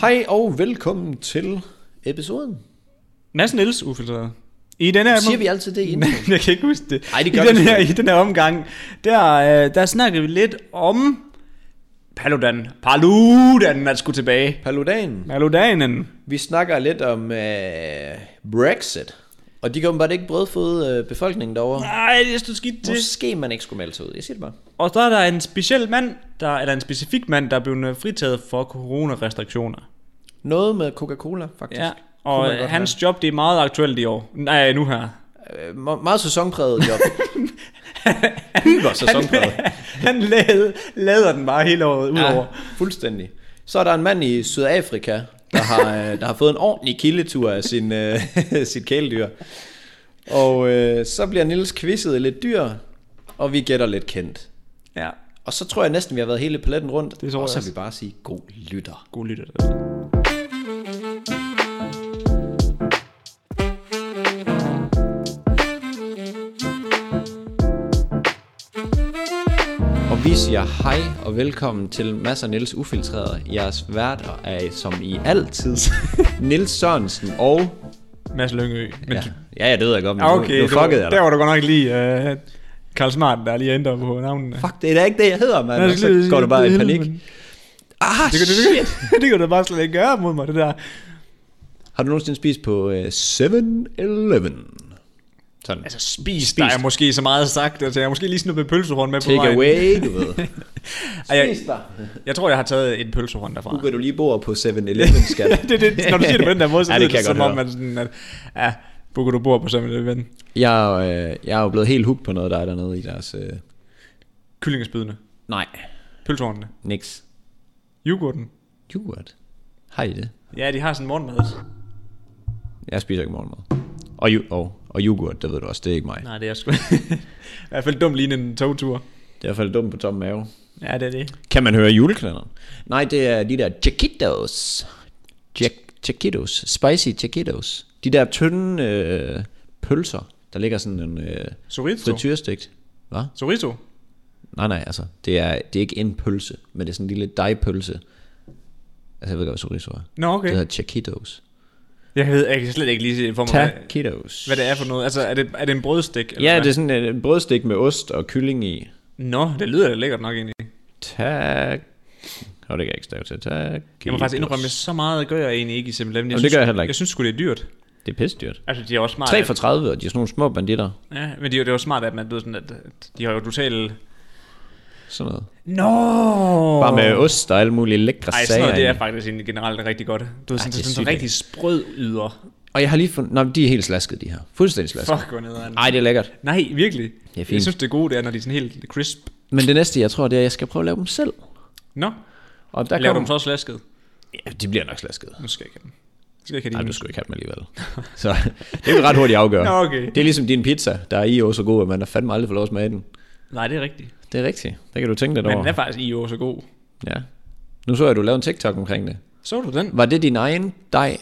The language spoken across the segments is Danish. Hej og velkommen til episoden. Mads Niels ufiltreret. I den her Siger vi altid det inden? jeg kan ikke huske det. Ej, det I, gør den vi sgu her, ikke. I den her omgang, der, øh, der snakkede vi lidt om Paludan. Paludan, man skulle tilbage. Paludan. Paludanen. Vi snakker lidt om øh, Brexit. Og de kan bare ikke brødføde øh, befolkningen derovre. Nej, det er så skidt det. Måske man ikke skulle melde sig ud. Jeg siger det bare. Og så er der en speciel mand, der, eller en specifik mand, der er blevet øh, fritaget for coronarestriktioner. Noget med Coca-Cola, faktisk. Ja, Kunne og øh, man godt hans job, det er meget aktuelt i år. Nej, nu her. være. Øh, me- meget sæsonpræget job. Hyper sæsonpræget. Han lader, lader den bare hele året ud over. Ja, fuldstændig. Så er der en mand i Sydafrika, der har, øh, der har fået en ordentlig kildetur af sin, øh, sit kæledyr. Og øh, så bliver Nils quizzet lidt dyr, og vi gætter lidt kendt. Ja. Og så tror jeg næsten, vi har været hele paletten rundt. Det tror og jeg så vil også. vi bare sige, god lytter. God lytter. Og vi siger hej og velkommen til Mads og Niels Ufiltreret. Jeres værter er som i altid Nils Sørensen og... Mads Lyngø. Men Ja, ja, jeg det ved jeg godt, men nu- Ah, Okay, nu du, fuckede jeg der dig. var du godt nok lige uh, Karl Smart, der lige ændrer på navnene. Fuck, det er da ikke det, jeg hedder, mand. Jeg Og skulle så lige går du bare i sige, panik. men- Ah, Det kan, det, shit. det, det kan du bare slet ikke gøre mod mig, det der. Har du nogensinde spist på øh, 7-Eleven? Sådan. Altså, spis. Der er måske så meget sagt, altså jeg har måske lige snuppet pølsehorn med på Take vejen. away, du ved. Ej, jeg, dig. jeg tror, jeg har taget en pølsehorn derfra. Nu kan du lige bor på 7-Eleven, skat. det, det, når du siger det på den der måde, så Ja, ja, det det, kan det jeg som godt om, høre. man sådan, at, ja, bukker du bor på sådan en ven. Jeg, er jo, øh, jeg er jo blevet helt hooked på noget, der er dernede i deres... Øh... Kyllingespydene, Nej. pølsehornene, Nix. yoghurten. Yoghurt. Har I det? Ja, de har sådan en morgenmad. Jeg spiser ikke morgenmad. Og, ju- og, og yoghurt, det ved du også, det er ikke mig. Nej. Nej, det er sgu... I hvert fald dumt lignende en togtur. Det er i hvert fald dumt på tom mave. Ja, det er det. Kan man høre juleklænderen? Nej, det er de der chiquitos. Jack- Chiquitos. Spicy chiquitos. De der tynde øh, pølser, der ligger sådan en øh, Chorizo. frityrestegt. Hvad? Chorizo. Nej, nej, altså. Det er, det er ikke en pølse, men det er sådan en lille dejpølse. Altså, jeg ved godt, hvad chorizo er. Nå, okay. Det hedder chiquitos. Jeg ved jeg kan slet ikke lige for mig, hvad, Taquitos. hvad det er for noget. Altså, er det, er det en brødstik? Eller Ja, hvad? det er sådan en- en brødstik med ost og kylling i. Nå, det lyder da lækkert nok egentlig. Tak. Nå, det kan jeg ikke stave til. Tak. Jeg må faktisk indrømme, at så meget gør jeg egentlig ikke i simpelthen. Jamen, det gør jeg heller ikke. Jeg synes sgu, det er dyrt. Det er pisse dyrt. Altså, de er også smart. 3 at- for 30, og de er sådan nogle små banditter. Ja, men det er jo- det er jo smart, at man ved sådan, at at de har jo totalt... Sådan noget. Nå! Bare med ost og alle mulige lækre Ej, sådan sager. noget, det er i. faktisk egentlig generelt rigtig godt. Du ved, sådan, det er sådan, sygt sådan rigtig sprød yder. Og jeg har lige fundet... Nå, men de er helt slaskede, de her. Fuldstændig slaskede. Fuck, hvor nederen. Ej, det er lækkert. Nej, virkelig. Altså. Det er fint. Jeg synes, det gode, det er, når de er sådan helt crisp. Men det næste, jeg tror, det er, at jeg skal prøve at lave dem selv. Nå, Og der laver du kommer... dem så også lasket? Ja, de bliver nok slaskede. Nu skal jeg ikke have dem. Nu skal jeg ikke Nej, du have dine. skulle ikke have dem alligevel. Så det vil ret hurtigt afgøre. Nå, okay. Det er ligesom din pizza, der er i år så god, at man har fandme aldrig fået lov at smage den. Nej, det er rigtigt. Det er rigtigt. Der kan du tænke lidt Men den over. er faktisk i år så god. Ja. Nu så jeg, at du lavede en TikTok omkring det. Så du den? Var det din egen dej,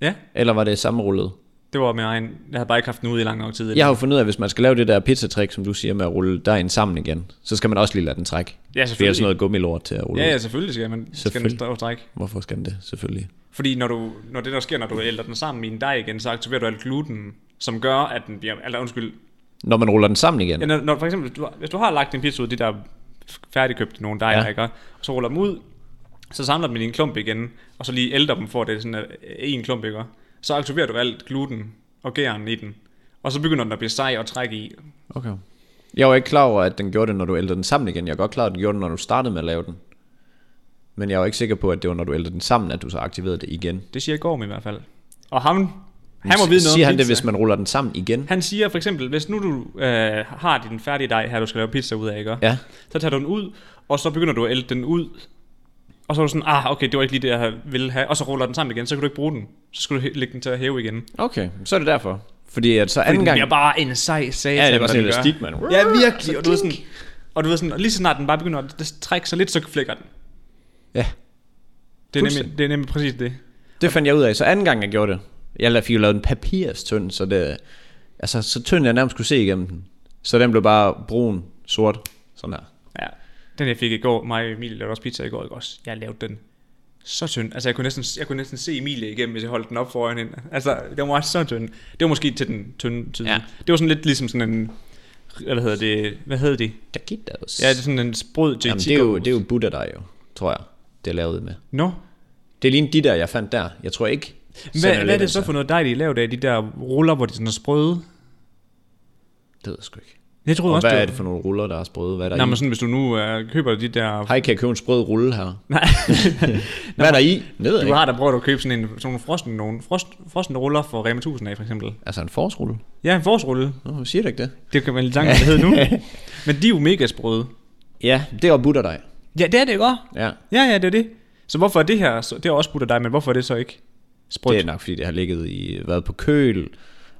Ja, eller var det sammenrullet? det var min egen. Jeg havde bare ikke haft den ude i lang nok tid. Jeg har jo fundet ud af, at hvis man skal lave det der pizzatrick, som du siger med at rulle dejen sammen igen, så skal man også lige lade den trække. Ja, Det er selvfølgelig. sådan noget gummilort til at rulle. Ja, ud. ja, selvfølgelig skal man skal Selvfølgelig. den stå- strække. Hvorfor skal den det? Selvfølgelig. Fordi når, du, når det der sker, når du ælder den sammen i en dej igen, så aktiverer du alt gluten, som gør, at den bliver... Eller undskyld. Når man ruller den sammen igen. Ja, når, når, for eksempel, hvis du, har- hvis du har lagt din pizza ud, de der færdigkøbte nogle dejer, Ja. ja. ikke? Og så ruller dem ud, så samler dem i en klump igen, og så lige ælder dem for, at det er sådan øh, en klump, ikke? Så aktiverer du alt gluten og gæren i den. Og så begynder den at blive sej og trække i. Okay. Jeg var ikke klar over, at den gjorde det, når du ældrede den sammen igen. Jeg er godt klar, over, at den gjorde det, når du startede med at lave den. Men jeg var ikke sikker på, at det var, når du ældrede den sammen, at du så aktiverede det igen. Det siger Gorm i hvert fald. Og ham, han må vide noget Siger om han det, pizza. hvis man ruller den sammen igen? Han siger for eksempel, hvis nu du øh, har din færdige dej her, du skal lave pizza ud af, ikke? Ja. Så tager du den ud, og så begynder du at ælte den ud. Og så er du sådan, ah, okay, det var ikke lige det, jeg ville have. Og så ruller den sammen igen, så kan du ikke bruge den. Så skal du hæ- lægge den til at hæve igen. Okay, så er det derfor. Fordi at så anden Den gang... bliver bare en sej sag. Ja, det var sådan en elastik, mand. Ja, virkelig. Og du, ved dink. sådan, og du ved sådan, og lige så snart den bare begynder at trække sig lidt, så flækker den. Ja, Det er, Fuldstændig. nemlig, det er nemlig præcis det. det fandt jeg ud af. Så anden gang, jeg gjorde det. Jeg la- fik jo lavet en papirstynd, så det... Altså, så tynd, jeg nærmest kunne se igennem den. Så den blev bare brun, sort, sådan her. Ja. Den jeg fik i går, mig og Emilie lavede også pizza i går, ikke også? Jeg lavede den så tynd. Altså, jeg kunne, næsten, jeg kunne næsten se Emilie igennem, hvis jeg holdt den op foran hende. Altså, den var så tynd. Det var måske til den tynde tid. Ja. Ja. Det var sådan lidt ligesom sådan en... Hvad hedder det? Hvad hedder de? Taquitos. Ja, det er sådan en sprød til Jamen, det, er jo, det er jo Buddha dig jo, tror jeg, det er lavet med. Nå. Det er lige de der, jeg fandt der. Jeg tror ikke. Hvad, hvad er det Sanaletta. så for noget dej, de er lavet af? De der ruller, hvor de sådan er sprøde? Det ved jeg sgu ikke. Jeg troede Og også, hvad er det det for nogle ruller, der er sprøde? Hvad er der var... Nå, i? men sådan, hvis du nu uh, køber de der... Hej, kan jeg købe en sprød rulle her? Nej, Hvad er der i? Det ved jeg du ikke. har da prøvet at købe sådan en sådan nogle frosten, nogle frost, frosne ruller for Rema 1000 af, for eksempel. Altså en forårsrulle? Ja, en forårsrulle. Nå, hvorfor siger du ikke det? Det kan man lige tanke, hvad det hedder nu. Men de er jo mega sprøde. Ja, det er butter dig. Ja, det er det godt. Ja. Ja, ja, det er det. Så hvorfor er det her, så, det er også butter dig, men hvorfor er det så ikke sprødt? Det er nok, fordi det har ligget i, været på køl,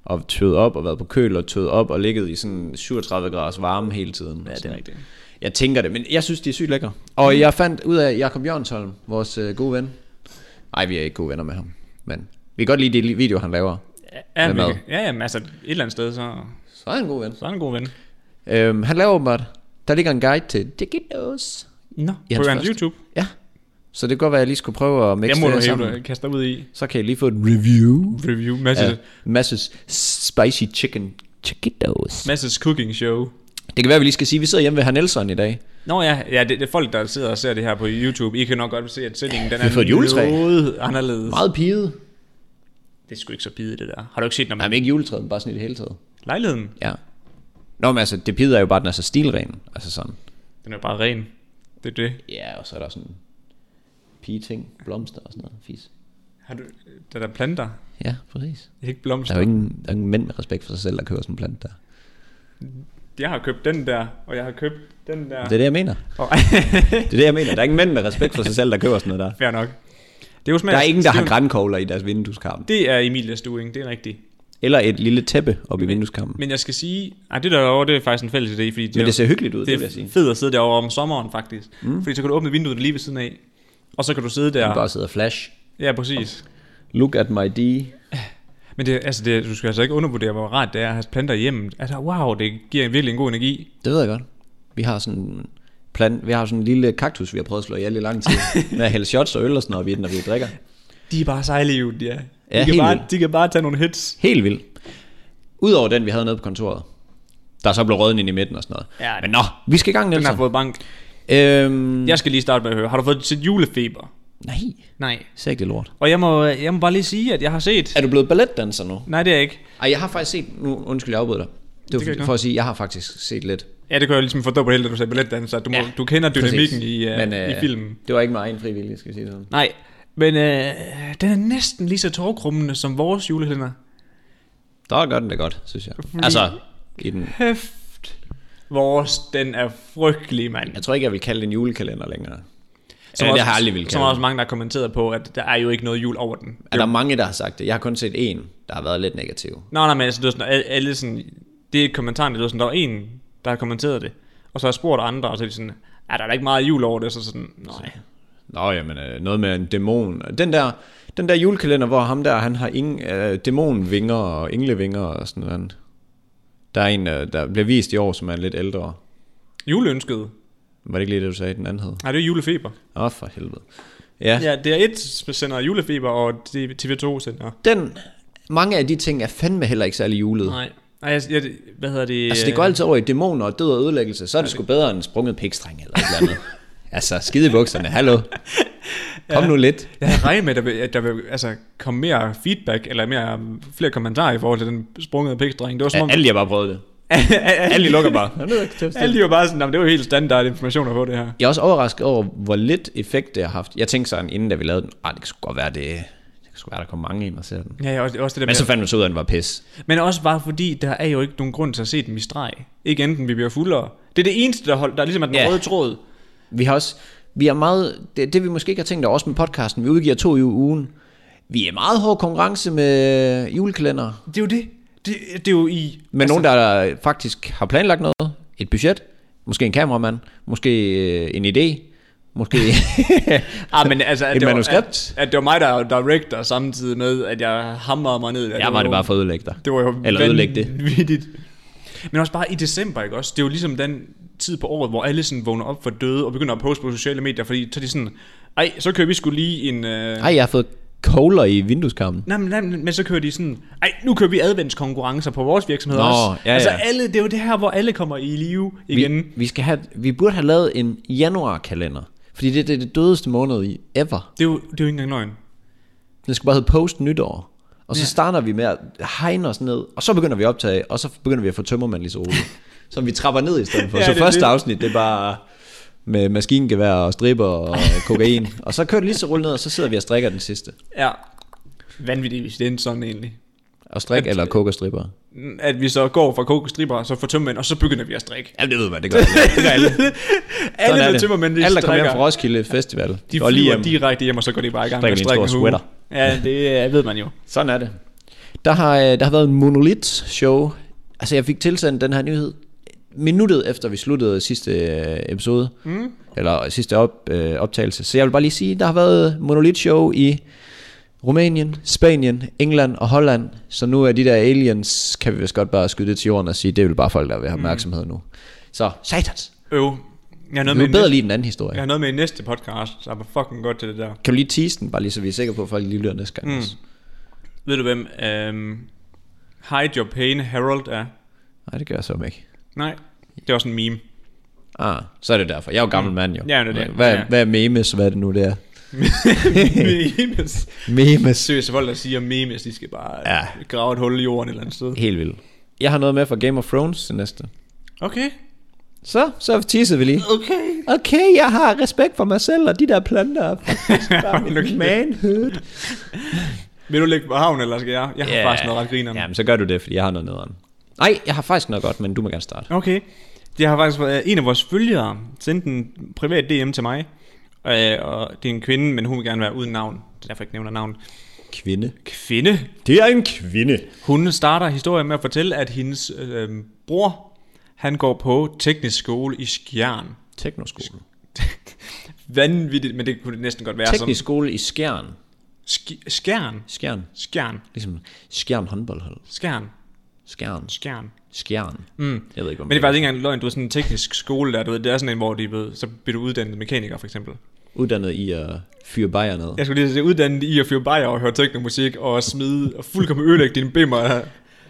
og tøet op, og været på køl, og tøet op, og ligget i sådan 37 graders varme hele tiden. Ja, rigtigt. Jeg tænker det, men jeg synes, de er sygt lækre. Og jeg fandt ud af at Jakob Jørgensholm, vores øh, gode ven. Nej, vi er ikke gode venner med ham, men vi kan godt lide de videoer, han laver. Ja, Med men, mad. ja, ja, men altså et eller andet sted, så, Så er han en god ven. så er han en god ven. Øhm, han laver åbenbart, der ligger en guide til Digitos. Nå, I hans på hans første. YouTube. Ja, så det kan godt være, at jeg lige skulle prøve at Jeg mixe må du det sammen. hæve dig, kaste dig ud i Så kan jeg lige få et review review. Masses, af Masses spicy chicken Chiquitos. masses cooking show. Det kan være, at vi lige skal sige, at vi sidder hjemme ved herr Nelson i dag. Nå ja, ja det, det, er folk, der sidder og ser det her på YouTube. I kan nok godt se, at sætningen den Vi har fået et juletræ. er noget anderledes. Meget piget. Det er sgu ikke så pide, det der. Har du ikke set, når man... Nej, men ikke juletræet, men bare sådan i det hele taget. Lejligheden, Ja. Nå, men altså, det pide er jo bare, at den er så stilren. Altså sådan. den er bare ren. Det er det. Ja, og så er der sådan pigeting, blomster og sådan noget. Fis. Har du... Der er der planter. Ja, præcis. Det er ikke Der blomster. er jo ingen, der er ingen mænd med respekt for sig selv, der køber sådan en plante der. Jeg har købt den der, og jeg har købt den der. Det er det, jeg mener. Og, Det er det, jeg mener. Der er ingen mænd med respekt for sig selv, der køber sådan noget der. fair nok. Det er jo smags, Der er ingen, der har det, er grænkogler i deres vindueskarm. jo- det er Emilias stuing, det er rigtigt. Eller et lille tæppe op i vindueskarmen. Men jeg skal sige, ej, det der derovre, det er faktisk en fælles idé, fordi det, Men det ser hyggeligt ud, det det er vil jeg sige. fedt at sidde derovre om sommeren faktisk. Mm. Fordi så kan du åbne vinduet lige ved siden af, og så kan du sidde Man der. bare sidder og flash. Ja, præcis. Look at my D. Men det, altså det, du skal altså ikke undervurdere, hvor rart det er at have planter hjemme. Altså, wow, det giver en virkelig en god energi. Det ved jeg godt. Vi har sådan en plan, vi har sådan en lille kaktus, vi har prøvet at slå ihjel i lang tid. Med at hælde shots og øl og sådan noget, vi når vi drikker. De er bare sejlivet, ja. De, Ja, kan helt bare, vildt. de kan bare tage nogle hits. Helt vildt. Udover den, vi havde nede på kontoret. Der så blev rødden ind i midten og sådan noget. Ja, Men nå, vi skal i gang, Den har Nielsen. fået bank. Øhm, Jeg skal lige starte med at høre, har du fået sit julefeber? Nej, Nej. ser ikke det lort. Og jeg må, jeg må bare lige sige, at jeg har set... Er du blevet balletdanser nu? Nej, det er jeg ikke. Ej, jeg har faktisk set, nu undskyld, jeg afbryder dig. Det var kan ikke for, noget. for at sige, jeg har faktisk set lidt. Ja, det kan jeg ligesom forstå på det hele, da du sagde balletdanser. Du, må, ja, du kender dynamikken i, uh, Men, uh, i filmen. øh, Det var ikke meget en frivillig, skal vi sige sådan. Nej, men øh, den er næsten lige så tårkrummende som vores julekalender. Der gør den da godt, synes jeg. Altså, i den, Hæft. Vores, den er frygtelig, mand. jeg tror ikke, jeg vil kalde det en julekalender længere. Som Som Eller, også, det har jeg aldrig vil Som kalde er også, også mange, der har kommenteret på, at der er jo ikke noget jul over den. Er der mange, der har sagt det? Jeg har kun set en, der har været lidt negativ. Nå, nej, men altså, det er sådan, alle- alle sådan, det er kommentaren, det er sådan, der var en, der har kommenteret det. Og så har jeg spurgt andre, og så er de sådan, er der er da ikke meget jul over det? Så sådan, nej. Nå, jamen, øh, noget med en dæmon. Den der, den der julekalender, hvor ham der, han har ingen, øh, dæmonvinger og englevinger og sådan noget. Der er en, øh, der bliver vist i år, som er lidt ældre. Juleønsket. Var det ikke lige det, du sagde, den anden hed? Nej, det er julefeber. Åh, for helvede. Ja. Ja, det er et sender julefeber, og TV2 sender. den, mange af de ting er fandme heller ikke særlig julet. Nej. Nej. Nej, jeg, jeg, hvad hedder det? Altså, det går altid over i dæmoner og død og ødelæggelse, så er det sgu bedre end sprunget pikstreng eller et eller andet. altså, skide i bukserne, hallo. Kom ja. nu lidt. Jeg havde regnet med, at der vil, at der vil altså, komme mere feedback, eller mere, um, flere kommentarer i forhold til den sprungede pikdreng. Det var som Ja, om, alle de har bare prøvet det. Alle de lukker bare. Jeg ved ikke, det er- alle de var bare sådan, "Jamen, det var helt standard information at få det her. Jeg er også overrasket over, hvor lidt effekt det har haft. Jeg tænkte sådan, inden da vi lavede den, ah, det kan sgu godt være, det, det kan sgu være, der kom mange ind og ser den. Ja, ja, også, også det der Men så med, fandt man så ud af, at den var pis. men også bare fordi, der er jo ikke nogen grund til at se dem i streg. Ikke enten vi bliver fuldere. Det er det eneste, der, hold, der ligesom er den Ja. yeah. røde tråd. Vi har også, vi er meget, det, det vi måske ikke har tænkt over, også med podcasten, vi udgiver to i ugen. Vi er meget hård konkurrence med julekalender. Det er jo det. Det, det er jo i... Men altså, nogen, der faktisk har planlagt noget, et budget, måske en kameramand, måske øh, en idé, måske... Ah, men altså, at Et det Var, manuskript? at, at, det var mig, der er director samtidig med, at jeg hamrede mig ned. at jeg var det bare for at ødelægge dig. Det var jo Eller ødelægge det. vanvittigt. Men også bare i december, ikke også? Det er jo ligesom den tid på året, hvor alle sådan vågner op for døde og begynder at poste på sociale medier, fordi så er de sådan, Ej, så kører vi skulle lige en... Øh... Ej, jeg har fået kogler i vindueskammen. Nej, men, nej, men men så kører de sådan... Ej, nu kører vi adventskonkurrencer på vores virksomhed Nå, også. ja, altså ja. alle, det er jo det her, hvor alle kommer i live igen. Vi, vi, skal have, vi burde have lavet en januarkalender. Fordi det, det er det dødeste måned i ever. Det, er jo, det er jo ikke engang løgn. Den skal bare hedde post nytår. Og så ja. starter vi med at hegne os ned, og så begynder vi at optage, og så begynder vi at få tømmermand lige så roligt. som vi trapper ned i stedet for. Ja, Ja, så det er første det. det. afsnit, det er bare med maskingevær og stripper og kokain. og så kører det lige så roligt ned, og så sidder vi og strikker den sidste. Ja. Vanvittigt, hvis det er sådan egentlig. Og strik At- eller koker stripper. At vi så går fra kokostriber, og så får tømmermænd, og så begynder vi at strikke. Ja, det ved man, det gør det. gør alle. Sådan Alle er med det. tømmermænd, de Alle, der kommer strikker. hjem fra Roskilde Festival, de går lige flyver hjem. direkte hjem, og så går de bare i gang med Strikker at en strikke en stor hue. sweater. Ja, det øh, ved man jo. Sådan er det. Der har, øh, der har været en monolit-show. Altså, jeg fik tilsendt den her nyhed minuttet efter vi sluttede sidste øh, episode, mm. eller sidste op, øh, optagelse. Så jeg vil bare lige sige, der har været monolit-show i Rumænien, Spanien, England og Holland. Så nu er de der aliens, kan vi vist godt bare skyde det til jorden og sige, det er vel bare folk, der vil have opmærksomhed nu. Så satans. Øv. Jeg har Du noget med, er i bedre næste, lige den anden historie. jeg har noget med i næste podcast, så jeg er fucking godt til det der. Kan du lige tease den, bare lige så vi er sikre på, at folk lige lytter næste gang. Mm. Ved du hvem? Øhm, Hide Your Pain Harold er? Nej, det gør jeg så ikke. Nej, det er også en meme. Ah, så er det derfor. Jeg er jo gammel mand jo. Mm. Ja, det er det. Hvad, Ja. hvad er memes, hvad er det nu det er? memes. Memes. Seriøst, folk der siger memes, de skal bare ja. Ja. grave et hul i jorden et eller andet sted. Helt vildt. Jeg har noget med fra Game of Thrones til næste. Okay. Så, så teaser vi lige. Okay. Okay, jeg har respekt for mig selv og de der planter. er faktisk bare Hold nu mit kæft. Manhood. Vil du ligge på havn, eller skal jeg? Jeg har yeah. faktisk noget ret griner. Jamen, så gør du det, fordi jeg har noget nederen. Nej, jeg har faktisk noget godt, men du må gerne starte. Okay. Det har faktisk været en af vores følgere sendt en privat DM til mig. Øh, og det er en kvinde, men hun vil gerne være uden navn. Det er derfor, jeg ikke nævner navn. Kvinde. Kvinde. Det er en kvinde. Hun starter historien med at fortælle, at hendes øh, bror, han går på teknisk skole i Skjern. Teknoskole. Vanvittigt, men det kunne det næsten godt være Teknisk skole i Skjern. som... Sk- Skjern. Skjern. Skjern. Ligesom Skjern håndboldhold. Skjern. Skjern. Skjern. Skjern. Mm. Jeg ved ikke, hvad man Men det er faktisk ikke engang løgn, du er sådan en teknisk skole der, du ved, det er sådan en, hvor de ved, så bliver du uddannet mekaniker for eksempel. uddannet i at fyre bajer ned. Jeg skulle lige sige, uddannet i at fyre bajer og høre teknomusik og smide og fuldkommen ødelægge dine bimmer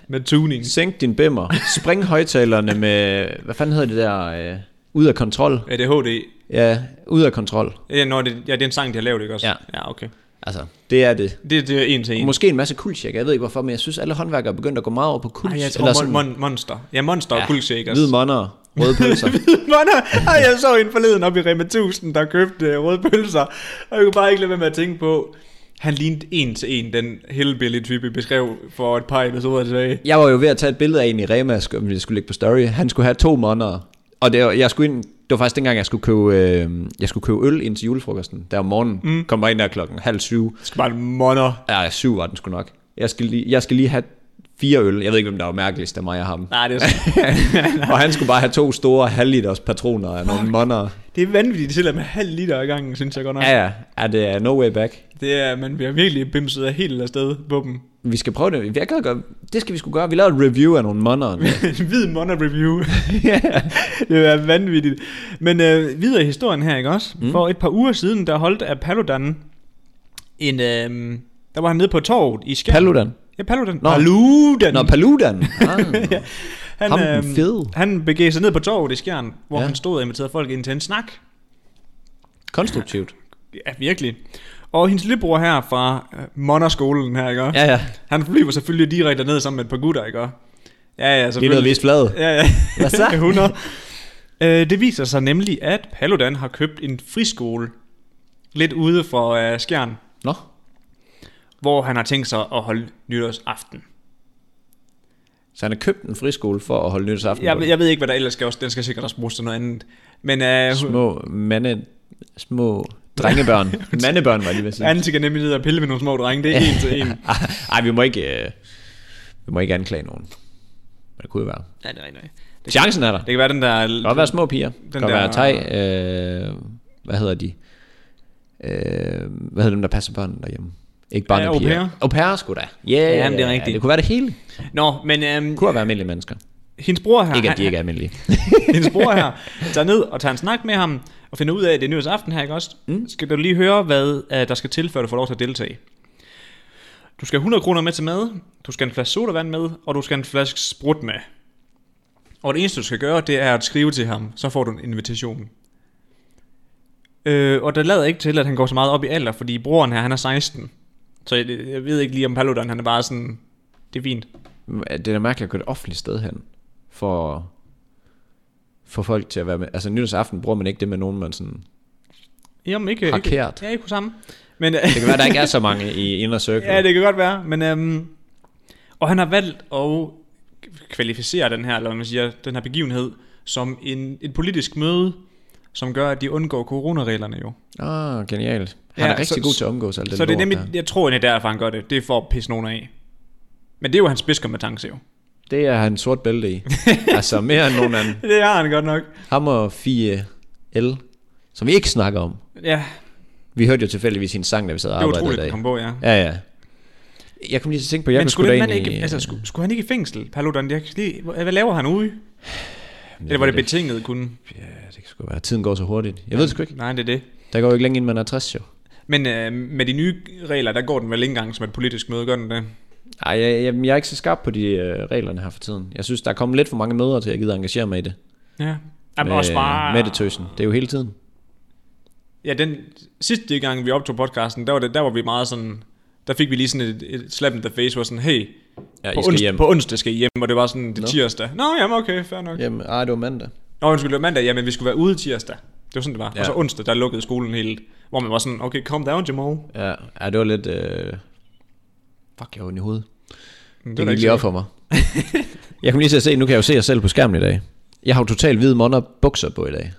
med tuning. Sænk din bimmer. Spring højtalerne med, hvad fanden hedder det der, øh, ud af kontrol. ADHD. Ja, ud af kontrol. Ja, når det, ja, det er en sang, de har lavet, ikke også? Ja. ja okay. Altså, det er det. Det, det er en til en. Måske en masse kuldsjækker, jeg ved ikke hvorfor, men jeg synes, alle håndværkere er begyndt at gå meget over på kuls. Ej, jeg tror mon, mon, monster. Ja, monster ja, og ja, kuldshaker. hvide monner, røde pølser. Monster. Ej, jeg så en forleden op i Rema 1000, der købte øh, røde pølser. Og jeg kunne bare ikke lade være med at tænke på, han lignede en til en, den hellbilly type vi beskrev for et par episoder tilbage. jeg var jo ved at tage et billede af en i Rema, sk- om jeg skulle lægge på story. Han skulle have to måneder. Og det var, jeg skulle ind, det var faktisk dengang, jeg skulle købe, øh, jeg skulle købe øl ind til julefrokosten. Der om morgenen mm. kom jeg ind der klokken halv syv. Det skal bare en monner. Ja, syv var den sgu nok. Jeg skal lige, jeg skal lige have fire øl. Jeg ved ikke, hvem der var mærkeligst af mig og ham. Nej, det er, sådan- og han skulle bare have to store halvliters patroner af nogle måneder. det er vanvittigt, de sælger med halv liter ad gangen, synes jeg godt nok. Ja, ja. Er det er no way back? Det er, man bliver virkelig bimset af helt afsted på dem. Vi skal prøve det. Jeg kan gøre. Det skal vi skulle gøre. Vi laver et review af nogle måneder. en hvid monner review. det er vanvittigt. Men øh, videre i historien her, ikke også? Mm. For et par uger siden, der holdt af Paludan en... Øh, der var han nede på torvet i Skjern. Paludan. Ja, Paludan. Nå. Paludan. Nå, Paludan. Ah. han, ham den øhm, fede. han begav sig ned på torvet i Skjern, hvor ja. Ja. han stod og inviterede folk ind til en snak. Konstruktivt. Ja, virkelig. Og hendes lillebror her fra øh, Monderskolen her, ikke også? Ja, ja. Han flyver selvfølgelig direkte ned sammen med et par gutter, ikke? også? Ja, ja, Det er noget selvfølgelig. vist flad. Ja, ja. Hvad så? 100. Øh, det viser sig nemlig, at Paludan har købt en friskole lidt ude fra uh, Skjern, Nå. hvor han har tænkt sig at holde nytårsaften. Så han har købt en friskole for at holde nytårsaften. Jeg, på. ved- jeg ved ikke, hvad der ellers skal også. Den skal sikkert også bruges til noget andet. Men uh, Små mande, små drengebørn. Mandebørn, var jeg lige ved at sige. Anne skal nemlig ned og pille med nogle små drenge. Det er en til en. Ej, vi må ikke, øh, vi må ikke anklage nogen. Men det kunne jo være. Nej, nej, nej. Det, Chancen er der. det kan være den der... Det kan godt være små piger. Den kan der- der... være thai, øh, hvad hedder de? Øh, hvad hedder dem, der passer børnene derhjemme? Ikke bare Ja, ja, au au pair. pair. Au pair, sgu da. Yeah, men det er rigtigt. Det kunne være det hele. Nå, men øhm, Det kunne have været almindelige mennesker. hendes bror her, Ikke at han- de ikke er almindelige. hendes bror her, tager ned og tager en snak med ham, og finder ud af, at det er nyhedsaften her, ikke også? Mm. Skal du lige høre, hvad uh, der skal til, før du får lov til at deltage? Du skal have 100 kroner med til mad, du skal have en flaske sodavand med, og du skal have en flaske sprut med. Og det eneste, du skal gøre, det er at skrive til ham, så får du en invitation. Øh, og der lader ikke til, at han går så meget op i alder, fordi broren her, han er 16. Så jeg, jeg ved ikke lige, om Paludan, han er bare sådan, det er fint. Det er da mærkeligt at gå et offentligt sted hen, for, for folk til at være med. Altså nytårsaften bruger man ikke det med nogen, man sådan... Jamen, ikke, ikke, Parkeret. Ja, ikke hos ham. Men, Det kan være, der ikke er så mange i inner circle. Ja, det kan godt være, men øhm, og han har valgt at kvalificere den her, eller hvad man siger, den her begivenhed som en, et politisk møde, som gør, at de undgår coronareglerne jo. Ah, genialt. Han Ja, er rigtig så- god til at omgås alt det så det er lort nemlig, der. jeg tror egentlig derfor, han gør det. Det er for at pisse nogen af. Men det er jo hans spidskompetence jo. Det er han sort bælte i. altså mere end nogen anden. Det har han godt nok. Ham og Fie L, som vi ikke snakker om. Ja, Vi hørte jo tilfældigvis hendes sang, da vi sad og det var arbejdede i utroligt, at dag. komme på, ja. Ja, ja. Jeg kom lige til at tænke på, jeg men kunne skulle, sgu da den mand egentlig- ikke, altså, skulle, skulle, han ikke i fængsel, Paludan? Jeg kan lige, hvad hvad laver han ude? Jamen, jeg Eller var ved det betinget kun? Ja, det kan sgu være. Tiden går så hurtigt. Jeg ved det sgu ikke. Nej, det er det. Der går jo ikke længe, inden man er 60, jo. Men øh, med de nye regler, der går den vel ikke engang som et politisk møde, gør den det? Ej, jeg, jeg, jeg er ikke så skarp på de øh, reglerne her for tiden. Jeg synes, der er kommet lidt for mange møder til, at jeg gider engagere mig i det. Ja. Jamen med, også bare... med det tøsen. Det er jo hele tiden. Ja, den sidste gang, vi optog podcasten, der var, det, der var vi meget sådan... Der fik vi lige sådan et, et slap in the face, hvor sådan, hey, Ja, på, I skal ons- hjem. på onsdag skal I hjem, og det var sådan, det er Nå. tirsdag. Nå, jamen okay, fair nok. Ja. Jamen, ej, det var mandag. Nå, undskyld, det var mandag, jamen vi skulle være ude tirsdag. Det var sådan, det var. Ja. Ja. Og så onsdag, der lukkede skolen helt, hvor man var sådan, okay, calm down, Jamal. "Mm, Ja, ja det var lidt... Øh... Fuck, jeg var i hovedet. Men Det var gik så- lige op for mig. jeg kom lige til at se, nu kan jeg jo se jer selv på skærmen i dag. Jeg har jo totalt hvide måneder bukser på i dag.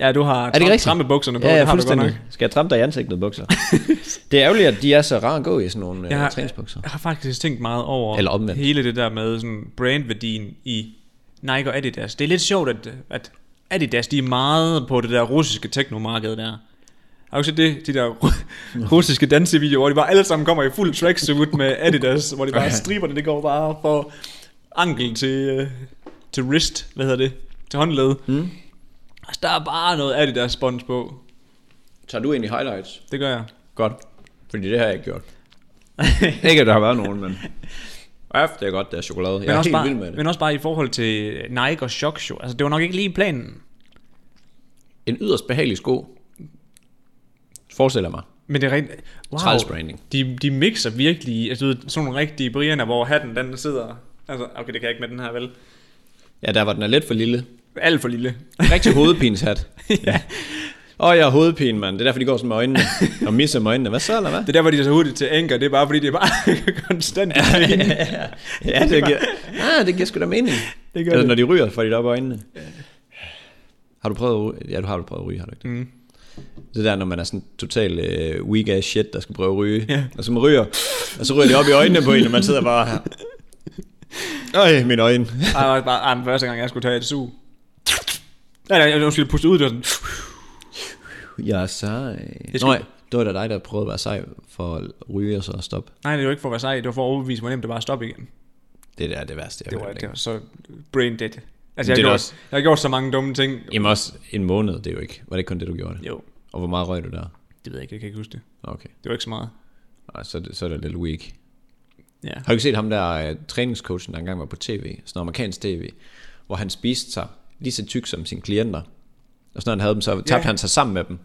Ja, du har Er det ikke rigtigt? tramme bukserne på, Ja, det ja har du godt nok. fuldstændig. Skal jeg tramme dig i ansigtet bukser? det er ærgerligt, at de er så rare at gå i sådan nogle Jeg ja, har- øh, træningsbukser. Jeg har faktisk tænkt meget over Eller omvendt. hele det der med sådan brandværdien i Nike og Adidas. Det er lidt sjovt, at, at Adidas de er meget på det der russiske teknomarked der. Har du set det? De der ru- russiske dansevideoer, hvor de bare alle sammen kommer i fuld tracksuit med Adidas, hvor de bare striberne, det går bare fra ankel til, øh, til wrist, hvad hedder det, til håndled. Mm. Altså, der er bare noget Adidas spons på. Tager du egentlig highlights? Det gør jeg. Godt. Fordi det har jeg ikke gjort. ikke, at der har været nogen, men... Ja, det er godt, det er chokolade. Jeg Men, er også helt bare, vild med det. men også bare i forhold til Nike og Shock Show. Altså, det var nok ikke lige planen. En yderst behagelig sko. Forestiller mig. Men det er rent... Wow. Træls branding. De, de mixer virkelig... Altså, du ved, sådan nogle rigtige brianer, hvor hatten den sidder... Altså, okay, det kan jeg ikke med den her, vel? Ja, der var den er lidt for lille. Alt for lille. Rigtig hovedpinshat. ja. Og jeg har hovedpine, mand. Det er derfor, de går sådan med øjnene. Og misser med øjnene. Hvad så, eller hvad? Det er derfor, de er så hurtigt til anker. Det er bare, fordi det er bare konstant. ja, det giver, ah, det giver sgu da mening. Det Det gør gør Eller det. når de ryger, får de det op i øjnene. Har du prøvet at ryge? Ja, du har du prøvet at ryge, har du ikke det? Mm. Det der, når man er sådan total øh, weak ass shit, der skal prøve at ryge. Ja. Og så man ryger, og så ryger det op i øjnene på en, og man sidder bare her. Øj, mine øjne. Ej, det var bare, ej, den første gang, jeg skulle tage et sug. Nej, nej, jeg skulle puste ud, det var sådan... Jeg er sej. Jeg skal- Nå, ja, det var da dig, der prøvede at være sej for at ryge og så stoppe. Nej, det var ikke for at være sej, det var for at overbevise, hvor nemt det var at stoppe igen. Det der er det værste, jeg Det har var, hørt. det ikke? var så brain dead. Altså, er det jeg, har gjort, også. jeg har gjort så mange dumme ting. Jamen også en måned, det er jo ikke. Var det ikke kun det, du gjorde? det? Jo, Og hvor meget røg du der? det ved jeg ikke, jeg kan ikke huske det. Okay. Det var ikke så meget. Ej, så, er det- så er det lidt weak. Ja. Har du ikke set ham der uh, træningscoachen, der engang var på tv, sådan amerikansk tv, hvor han spiste sig lige så tyk som sine klienter, og sådan når han havde dem, så tabte han sig sammen med dem.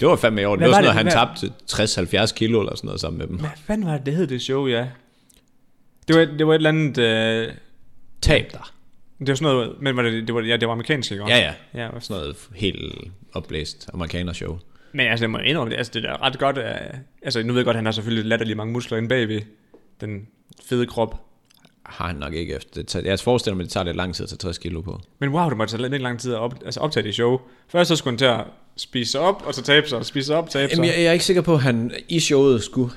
Det var fandme i orden. Hvad Det var sådan var noget, det? han tabte 60-70 kilo eller sådan noget sammen med dem. Hvad fanden var det, det hed det show, ja? Det var, det var et eller andet... Øh, Tab dig. det var sådan noget... Men var det, det var, ja, det var amerikansk, ikke? også? Ja, ja. ja hvad- Sådan noget helt opblæst amerikanershow. men altså, jeg må indrømme det. Altså, det er da ret godt... Øh, altså, nu ved jeg godt, at han har selvfølgelig latterlig mange muskler inde bagved den fede krop. Har han nok ikke efter. Det tager, jeg forestiller mig, det tager lidt lang tid at tage 60 kilo på. Men wow, det måtte tage lidt lang tid at op, altså, optage det show. Først så skulle han til at spise sig op, og så tabe sig, spise sig op, tabe sig. Jamen, jeg, jeg er ikke sikker på, at han i showet skulle...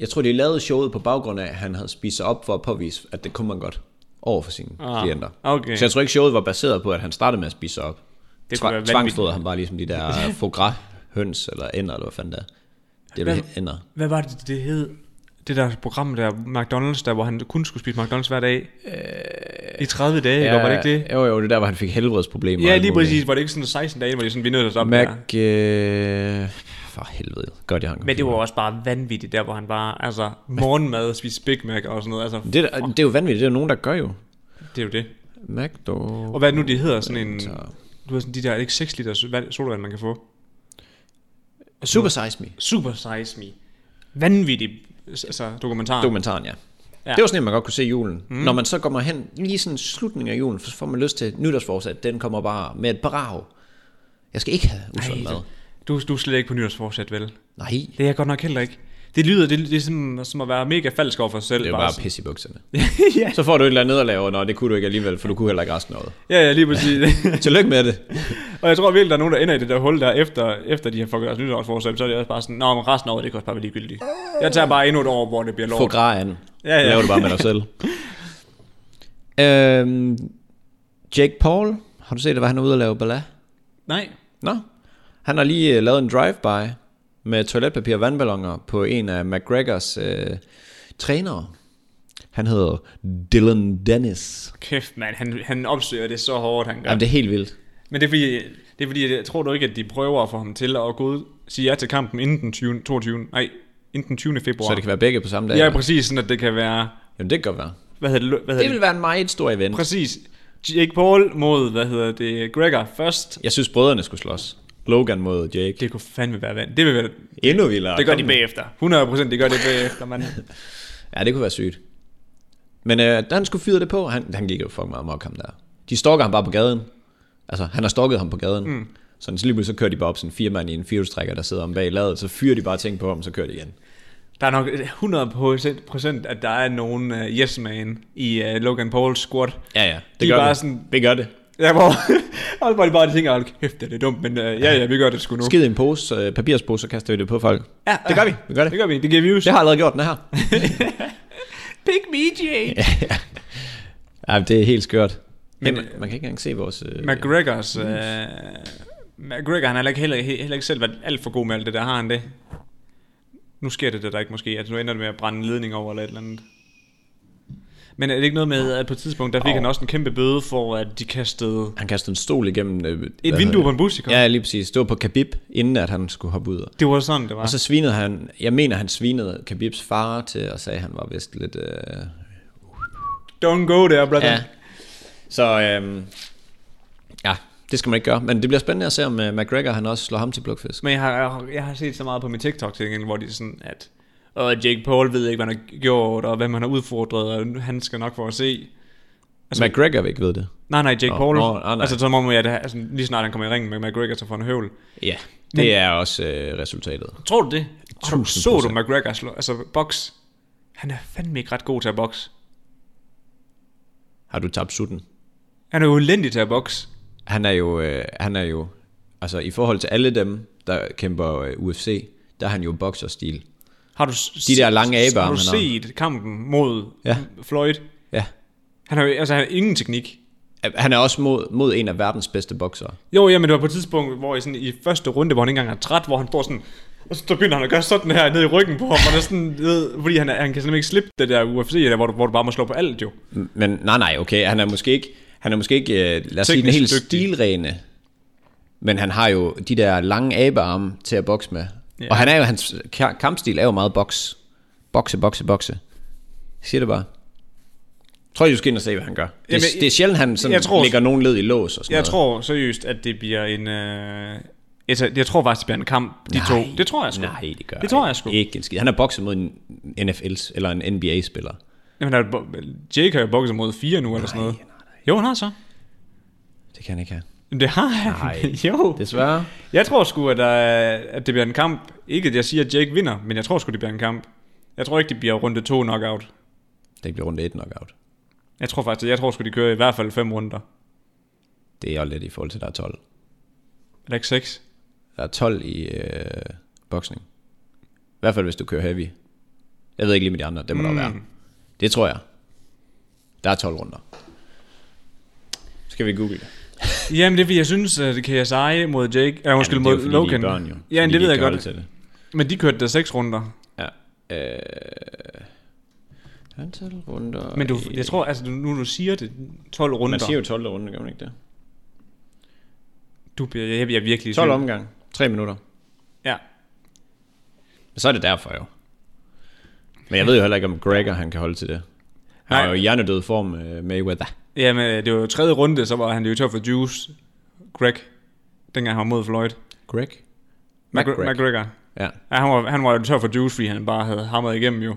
Jeg tror, de lavede showet på baggrund af, at han havde spist sig op for at påvise, at det kunne man godt over for sine Ah, ah, klienter. okay. Så jeg tror ikke, showet var baseret på, at han startede med at spise sig op. Det Det kunne være Tva- vanvittigt. Tvangsfodrede han bare ligesom de der faux gras høns eller ender, eller hvad fanden det er. Det er vel Hvad- ender. Hvad var det, det hed? Det der program der, McDonald's, der, hvor han kun skulle spise McDonald's hver dag. I 30 dage, Øh, ja, var det ikke det? Jo, jo, det der, hvor han fik helbredsproblemer. og Ja, alt lige muligt. præcis. Var det ikke sådan 16 dage, hvor de sådan, vi er nødt til at stoppe Mac... der? Øh, for helvede. Godt, jeg har en Men computer. det var også bare vanvittigt, der hvor han bare, altså, morgenmad, spiste Big Mac og sådan noget. Altså, det, er da- det er jo vanvittigt. Det er jo nogen, der gør jo. det er jo det. McDo... Og hvad er det nu, de hedder sådan en... Du har sådan de der, er det ikke 6 liter so- vand- sodavand, man kan få? Super Size Me. Super Size Me. Vanvittig altså, dokumentar. Dokumentaren, ja. Ja. ja. Det var sådan en, man godt kunne se i julen. Mm. Når man så kommer hen, lige sådan slutningen af julen, så får man lyst til et nytårsforsæt. Den kommer bare med et brag. Jeg skal ikke have usund Ej, mad. du, du er slet ikke på nytårsforsæt, vel? Nej, Det er jeg godt nok heller ikke. Det lyder, det, det er som, som at være mega falsk over for sig selv. det er jo bare pis i bukserne. ja. Så får du et eller andet nederlag, og nå, det kunne du ikke alligevel, for du kunne heller ikke resten af året. ja, ja, lige præcis. Tillykke med det. og jeg tror virkelig, der er nogen, der ender i det der hul der, efter, efter de har fucket deres nytårsforsæt, så er det også bare sådan, nå, men resten af året, det kan også bare være ligegyldigt. Jeg tager bare endnu et år, hvor det bliver lort. Få grejen. Ja, ja. Lav det bare med dig selv. øhm, Jake Paul, har du set, at hvad han er ude at lave ballade? Nej. Nå, han har lige øh, lavet en drive-by med toiletpapir og vandballoner på en af McGregors øh, trænere. Han hedder Dylan Dennis. Kæft, mand. Han, han opsøger det så hårdt, han Ja. gør. Jamen, det er helt vildt. Men det er fordi, det er fordi jeg tror du ikke, at de prøver at få ham til at gå ud, sige ja til kampen inden den 20, 22. Nej, inden den 20. februar. Så det kan være begge på samme dag. Ja, eller? præcis, sådan at det kan være... Jamen, det kan godt være. Hvad hedder det? Hvad hedder Det det, vil være en meget stor event. Præcis. Jake Paul mod, hvad hedder det, Gregor først. Jeg synes, brødrene skulle slås. Logan mod Jake. Det kunne fandme være vand. Det vil være, Endnu vildere. det gør de Kom. bagefter. 100% det gør det bagefter, mand. Ja, det kunne være sygt. Men øh, da han skulle fyre det på, han, han gik jo fucking meget amok ham der. De stalker ham bare på gaden. Altså, han har stalket ham på gaden. Mm. Sådan, så lige pludselig så kører de bare op sådan fire mand i en firehjulstrækker, der sidder om bag ladet, så fyrer de bare ting på ham, så kører de igen. Der er nok 100% at der er nogen uh, yes man i uh, Logan Pauls squad. Ja, ja, det De er gør bare det. sådan- Vi gør det. Ja, hvor, og hvor de bare tænker, hold kæft, det er dumt, men uh, ja, ja, vi gør det sgu nu. Skid i en pose, øh, papirspose, så kaster vi det på folk. Ja, det gør vi. Vi gør det. Det gør vi, det giver views. Jeg har allerede gjort den her. Pick me, Jake. ja, det er helt skørt. Men, Men, man, man kan ikke engang se vores... Øh, McGregors... Øh, McGregor, han har heller, heller, heller ikke selv været alt for god med alt det der, har han det? Nu sker det det der ikke måske, at nu ender det med at brænde en ledning over eller et eller andet. Men er det ikke noget med, at på et tidspunkt, der fik Au. oh. han også en kæmpe bøde for, at de kastede han kaster en stol igennem... Øh, hvad et hedder vindue på det? en bus, ikke? Ja, lige præcis. Det var på Khabib, inden at han skulle hoppe ud. Det var sådan, det var. Og så svinede han, jeg mener han svinede Khabibs far til og sagde, at han var vist lidt... Øh, Don't go there, brother. ja. Så øh, ja, det skal man ikke gøre. Men det bliver spændende at se, om øh, McGregor han også slår ham til plukfisk. Men jeg har, jeg, har, jeg har set så meget på min TikTok til gengæld, hvor de er sådan, at og Jake Paul ved ikke, hvad han har gjort, og hvem han har udfordret, og han skal nok få at se. Altså, McGregor vil ikke ved det. Nej, nej, Jake Nå, Paul. nå, nej, nej. Altså, som om, at det, altså, lige snart han kommer i ringen med McGregor, så får han høvl. Ja, det Men- er også øh, resultatet. Tror du det? Tror du, 1000%. så du McGregor slå? Altså, box. Han er fandme ikke ret god til at box. Har du tabt sutten? Han er jo elendig til at box. Han er jo, øh, han er jo, altså i forhold til alle dem, der kæmper øh, UFC, der er han jo bokserstil. Har du s- De der lange s- abearme, Har du han har. set kampen mod Ja. ja. Floyd? Ja. Han har jo altså, han har ingen teknik. Han er også mod, mod en af verdens bedste boksere. Jo, ja, men det var på et tidspunkt, hvor i, sådan, i første runde, hvor han ikke engang er træt, hvor han står sådan, og så begynder han at gøre sådan her ned i ryggen på ham, og det er sådan, du ved, fordi han, er- han kan simpelthen ikke slippe det der UFC, der, hvor, du, hvor du bare må slå på alt jo. Men nej, nej, okay, han er måske ikke, han er måske ikke øh, lad os sige, den Teknisk helt dygtig. stilrene, men han har jo de der lange abearme til at bokse med. Ja. Ja. Og han er jo, hans ka- kampstil er jo meget boks. Bokse, bokse, bokse. Jeg siger det bare. Jeg tror, du skal ind og se, hvad han gør. Det, Jamen, Jamen, jeg- det er sjældent, han sådan jeg tror- lægger nogen led i lås og sådan Jeg noget. tror seriøst, at det bliver en... Øh, altså, jeg tror faktisk, det bliver en kamp, de Nej. to. Det tror jeg sgu. Nej, det gør Det tror jeg sgu. Ikke en skid. Han er bokset mod en NFL's eller en NBA-spiller. Jamen, der, er bo- Jake har jo bokset mod fire nu, eller sådan noget. Jo, han har så. Det kan han ikke have. Jamen, Det har han. Nej. jo. Desværre. Jeg tror sgu, at, der, er- at det bliver en kamp. Ikke, at jeg siger, at Jake vinder, men jeg tror sgu, det bliver en kamp. Jeg tror ikke, det bliver runde to knockout. Det bliver rundt et knockout. Jeg tror faktisk, jeg tror sgu, de kører i hvert fald fem runder. Det er jo lidt i forhold til, der er 12. Eller ikke seks. Der er 12 i øh, boksning. I hvert fald, hvis du kører heavy. Jeg ved ikke lige med de andre. Det må mm. der jo Hmm. være. Det tror jeg. Der er 12 runder. Skal vi google det? Jamen, det er fordi, jeg synes, at KSI mod Jake... Eller undskyld, mod fordi, Logan. De er børn, jo. Ja, men Fordi det de ved ikke jeg kan holde godt. Til det. Men de kørte der seks runder. Ja. Øh, Antal runder... Men du, i- jeg tror, altså du- nu du siger det, 12 runder. Man siger jo 12 runder, gør man ikke det? Du bliver, jeg bliver virkelig... i 12 tvivl. omgang. 3 minutter. Ja. Så er det derfor jo. Men jeg ved jo heller ikke, om Gregor han kan holde til det. Han Nej. er jo i hjernedød form øh, Mayweather. Jamen, øh, det var jo tredje runde, så var han jo tør for juice. Greg, dengang han var mod Floyd. Greg? McGre- McGreg. McGregor. Ja. Ja, han var, han var jo tør for juice, fordi han bare havde hamret igennem jo.